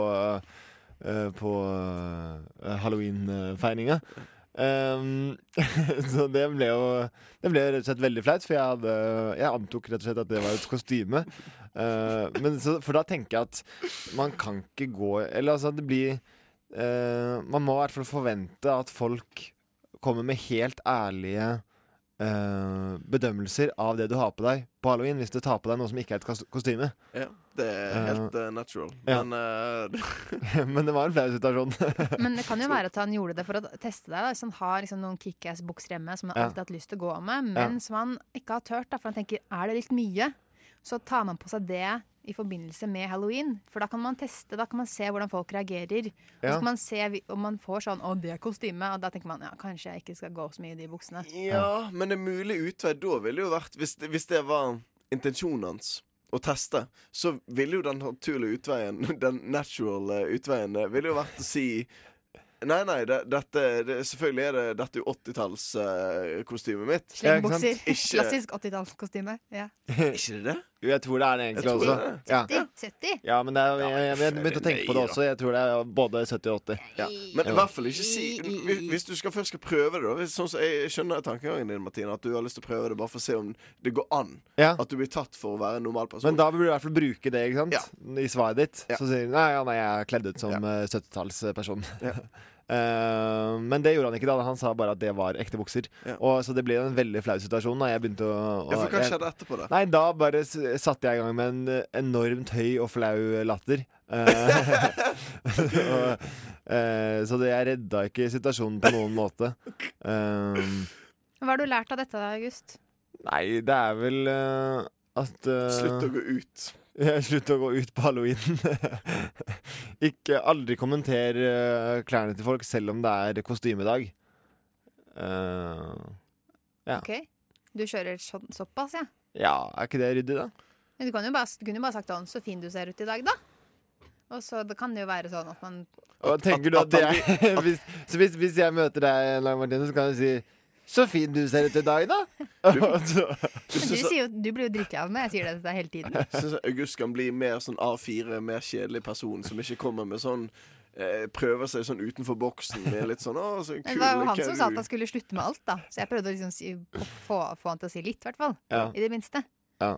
S14: eh, på eh, halloween-feiringa. Ehm, så det ble jo Det ble rett og slett veldig flaut, for jeg, hadde, jeg antok rett og slett at det var et kostyme. Eh, men så, for da tenker jeg at man kan ikke gå Eller altså, det blir eh, Man må i hvert fall forvente at folk kommer med helt ærlige eh, bedømmelser av det du har på deg på halloween, hvis du tar på deg noe som ikke er et kas- kostyme.
S15: Ja, det er helt
S14: Eh,
S15: eh, natural.
S14: ja.
S15: Men eh,
S14: Men det var en flau situasjon.
S13: Men det kan jo være at han gjorde det for å teste deg. Da. Hvis han har liksom, noen kickass-bukser hjemme som han
S14: Ja.
S13: alltid har hatt lyst til å gå med, men
S14: Ja.
S13: som han ikke har turt, da, for han tenker er det litt mye, så tar man på seg det i forbindelse med halloween. For da kan man teste, da kan man se hvordan folk reagerer. Og så
S14: Ja.
S13: kan man se vi- om man får sånn 'å, det er kostyme', og da tenker man ja, kanskje jeg ikke skal gå så mye i de buksene.
S15: Ja, men en mulig utvei da ville jo vært Hvis, det- hvis det var intensjonen hans å teste, så ville jo den naturlige utveien, den natural eh, utveien, eh, ville jo vært å si Nei, nei, det, dette det, Selvfølgelig er det dette er jo 80-tallskostymet mitt.
S13: Slengbukser.
S15: Ikke,
S13: Klassisk 80-tallskostyme. Ja.
S15: ikke det det?
S14: Jo, jeg tror det er det egentlig
S15: Jeg tror
S14: også.
S15: det.
S14: Ja.
S13: 70.
S14: ja, men det er, jeg, jeg, jeg begynte å tenke på det
S15: Nei, da.
S14: også. Jeg tror det er både 70 og 80.
S15: Men i
S14: Ja.
S15: hvert fall ikke si hvis- Hvis du skal først skal prøve det, da hvis- sånn som Jeg skjønner tankegangen din, Martine, at du har lyst til å prøve det bare for å se om det går an.
S14: Ja.
S15: At du blir tatt for å være en normal person.
S14: Men da burde du i hvert fall bruke det ikke sant? i svaret ditt. Så sier du nei, ja, nei, jeg er kledd ut som eh, 70-tallsperson. Eh, men det gjorde han ikke. da Han sa bare at det var ekte bukser. Og, så det ble jo en veldig flau situasjon. Da jeg begynte å, å
S15: Ja, for hva
S14: jeg-
S15: skjedde etterpå, da?
S14: Nei, da bare s- satte jeg i gang med en eh, enormt høy og flau latter. Eh, og, eh, så det, jeg redda ikke situasjonen på noen måte. Eh,
S13: Hva har du lært av dette, da, August?
S14: Nei, det er vel eh, at eh,
S15: Slutt å gå ut.
S14: Ja, slutt å gå ut på halloween. Ikke aldri kommenter eh, klærne til folk selv om det er kostymedag. Eh, ja.
S13: Ok, Du kjører sånn, såpass, ja?
S14: ja, er ikke det ryddig, da?
S13: Men du, kan jo bare, du kunne jo bare sagt sånn 'så fin du ser ut i dag', da. Og så da kan det jo være sånn at man
S14: Og tenker du at det er hvis, Så hvis, hvis jeg møter deg, Lang Martine, så kan du si 'Så fin du ser ut i dag', da. Og så-
S13: Men du, sier jo, du blir jo dritlei av meg, jeg sier det til deg hele tiden.
S15: Jeg syns August kan bli mer sånn A4, mer kjedelig person som ikke kommer med sånn eh, Prøver seg sånn utenfor boksen med litt sånn Å, så
S13: Men
S15: kul
S13: det var jo han
S15: hva
S13: som
S15: er
S13: sa
S15: du?»
S13: at han skulle slutte med alt, da. Så jeg prøvde å liksom si, å få, få han til å si litt, i hvert fall.
S14: Ja.
S13: I det minste.
S14: ja.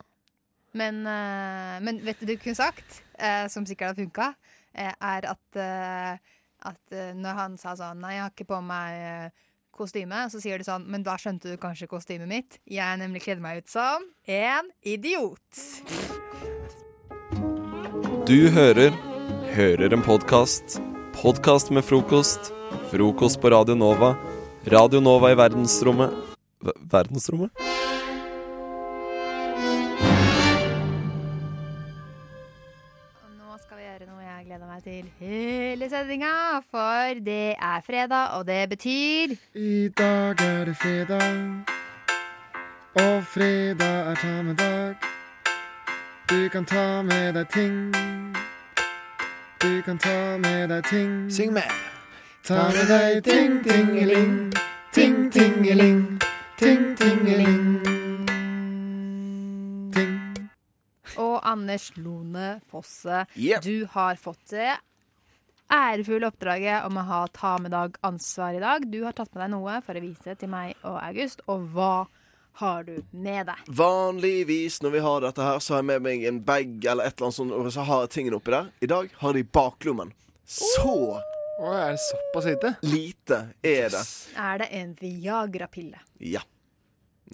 S13: Men, eh, men vet du hva du kunne sagt, eh, som sikkert hadde funka, eh, er at, eh, at eh, når han sa sånn Nei, jeg har ikke på meg eh, kostyme. Så sier du sånn Men da skjønte du kanskje kostymet mitt. Jeg nemlig kledde meg ut som en idiot.
S1: Du hører Hører en podkast. Podkast med frokost. Frokost på Radio Nova. Radio Nova i verdensrommet Ver- Verdensrommet?
S13: Nå skal vi gjøre noe jeg gleder meg til hele sendinga, for det er fredag, og det betyr
S14: I dag er det fredag, og fredag er ta med dag. Du kan ta med deg ting. Du kan ta med deg ting. Syng med. Ta med deg ting, tingeling. Ting, tingeling. Ting, tingeling.
S13: Og Anders Lone Fosse,
S14: Yep.
S13: du har fått det ærefulle oppdraget om å ha ta med dag ansvar i dag. Du har tatt med deg noe for å vise til meg og August, og hva har du med deg?
S15: Vanligvis når vi har dette her, så har jeg med meg en bag eller et eller annet sånt, og så har jeg tingene oppi der. I dag har de i baklommen. Så
S14: Å, er det såpass lite?
S15: lite er det.
S13: Er det en Viagra-pille?
S15: Ja.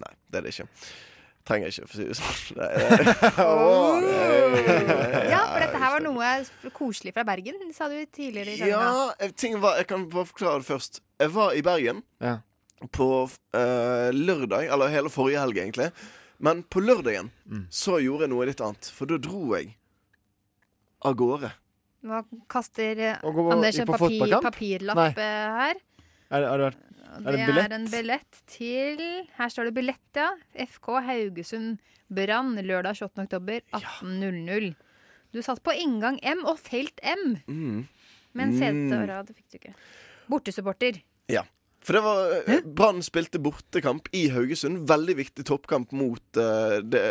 S15: Nei, det er det ikke. Trenger jeg ikke, for å si det sånn. Nei, det-
S13: Ja, for dette her var noe koselig fra Bergen, sa du tidligere i sendinga.
S15: Ja, eh, ting var, jeg kan bare forklare det først. Jeg var i Bergen på eh, lørdag, eller hele forrige helg, egentlig. Men på lørdagen så gjorde jeg noe litt annet, for da dro jeg av gårde.
S13: Nå kaster eh,
S14: gå på-
S13: Anders en
S14: på
S13: papir,
S14: fotballkamp?
S13: papirlapp
S14: Nei.
S13: eh, her.
S14: Er, har du vært
S13: Og det er en billett til Her står det billett, ja. FK Haugesund Brann lørdag 28. oktober 18.00. Du satt på inngang M og felt M,
S15: Mm.
S13: men
S15: Mm.
S13: sete og rad fikk du ikke. Bortesupporter.
S15: Ja. For det var eh, Brann spilte bortekamp i Haugesund. Veldig viktig toppkamp mot eh, det,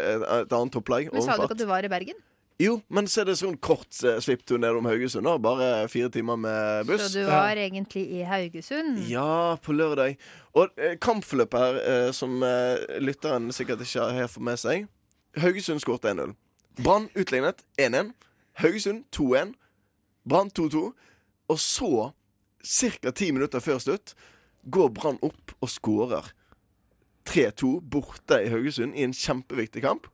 S15: et annet topplag.
S13: Men sa du ikke
S15: åpenbart.
S13: at du var i Bergen?
S15: Jo, men så er det sånn kort eh, svipptur nedom Haugesund. Da. Bare fire timer med buss.
S13: Så du var egentlig i Haugesund?
S15: Ja, på lørdag. Og eh, kampforløpet her, eh, som eh, lytteren sikkert ikke har fått med seg Haugesund skåret 1-0. Brann utlignet 1-1. Haugesund 2-1. Brann 2-2. Og så, ca. ti minutter før slutt, går Brann opp og skårer 3-2 borte i Haugesund i en kjempeviktig kamp.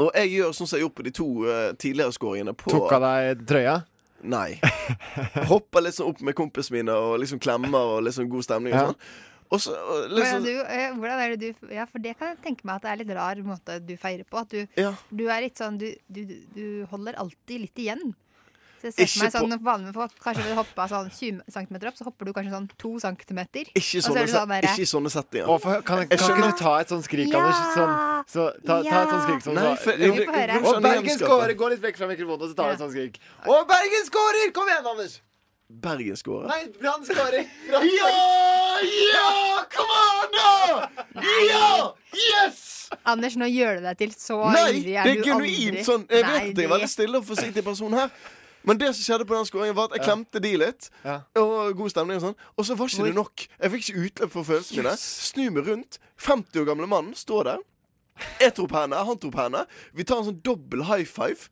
S15: Og jeg gjør sånn som jeg gjorde på de to eh, tidligere skåringene. på-
S14: Tok av deg trøya?
S15: Nei. Hopper litt sånn opp med kompisene mine og liksom klemmer og liksom god stemning og
S14: Ja.
S15: sånn. Og så og
S13: Hvordan,
S15: liksom
S13: du, eh, hvordan er det du Ja, for det kan jeg tenke meg at det er litt rar måte du feirer på. At du,
S15: Ja.
S13: du er litt sånn du, du, du holder alltid litt igjen. Så jeg ser for
S15: Ikke
S13: meg sånn
S15: på-
S13: vanlige folk kanskje vil hoppe sånn 20 cm opp, så hopper du kanskje sånn 2 cm.
S15: Ikke i sånne,
S13: sånn
S15: se- ikke i sånne settinger.
S14: Å, for, kan, kan ikke du ta et sånt skrik,
S13: Ja.
S14: Anders? Sånn, så, ta, ta et sånt skrik som
S15: Nei,
S14: så-
S15: for- jo, Vi får det- høre. hvordan
S14: Og Bergen
S15: gjenskaper?
S14: scorer! Gå litt vekk fra mikrofonen, og så tar du et sånt skrik. Og Bergen scorer! Kom igjen, Anders!
S15: Bergen scorer.
S14: Nei, Brann scorer!
S12: Ja! Ja! Kom an, da! Ja! Yes!
S13: Anders, nå gjør du deg til så
S15: Nei,
S13: ivrig
S15: det
S13: er
S15: er
S13: du aldri.
S15: genuint sånn. Jeg
S13: Nei,
S15: vet at jeg er
S13: det-
S15: veldig stille og forsiktig person her. Men det som skjedde på den skåringen, var at jeg
S14: Ja.
S15: klemte de litt. Og god stemning og sånn. Og så var ikke det nok. Jeg fikk ikke utløp for følelsene mine. Snu meg rundt. 50 år gamle mannen står der. Jeg tok på henne, han tok på henne. Vi tar en sånn dobbel high five.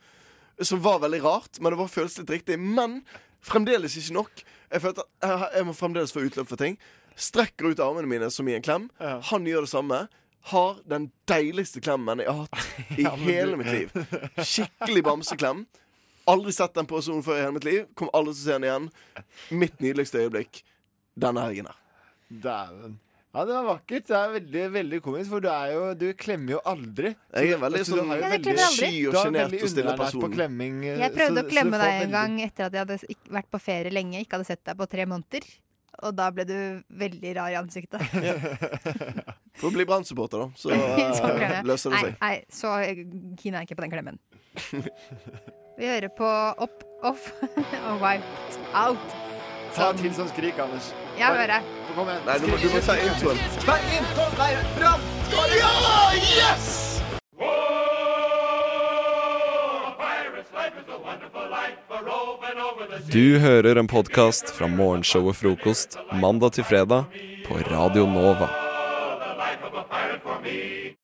S15: Som var veldig rart, men det var føles litt riktig. Men fremdeles ikke nok. Jeg følte at jeg- jeg må fremdeles få utløp for ting. Strekker ut armene mine som i en klem. Han gjør det samme. Har den deiligste klemmen jeg har hatt i
S14: Ja, men du-
S15: hele mitt liv. Skikkelig bamseklem. Aldri sett den personen før i hele mitt liv. Kommer aldri til å se den igjen. Mitt nydeligste øyeblikk denne helgen her.
S14: Dæven. Ja, det var vakkert. Det er veldig, veldig komisk, for du er jo Du klemmer jo aldry.
S15: Jeg er veldig
S14: Så du
S15: sånn
S14: har jo
S15: Ja,
S13: jeg klemmer aldri.
S15: sky og
S14: Du har
S15: sjenert
S14: veldig
S15: og stille
S14: underernært
S15: person.
S14: på klemming. eh,
S13: Jeg
S14: så-
S13: prøvde å
S14: så du
S13: klemme
S14: får
S13: deg en
S14: veldig-
S13: gang etter at jeg hadde ikk- vært på ferie lenge, ikke hadde sett deg på tre måneder. Og da ble du veldig rar i ansiktet.
S15: Får bli Brann-supporter, da. Så,
S13: Så klem
S15: eh,
S13: jeg.
S15: løser det
S13: nei,
S15: seg.
S13: nei, så kina jeg ikke på den klemmen. Vi hører på Up, Off og Wiped Out.
S14: Ta til sånn skrik, Anders.
S13: Jeg hører.
S14: Kom igjen.
S15: Nei, du må, du må ta introen.
S14: Bergen, kom deg fram! Scorer!
S12: Ja! Ah, Yes!
S1: Du hører en podkast fra morgenshowet Frokost mandag til fredag på Radio Nova.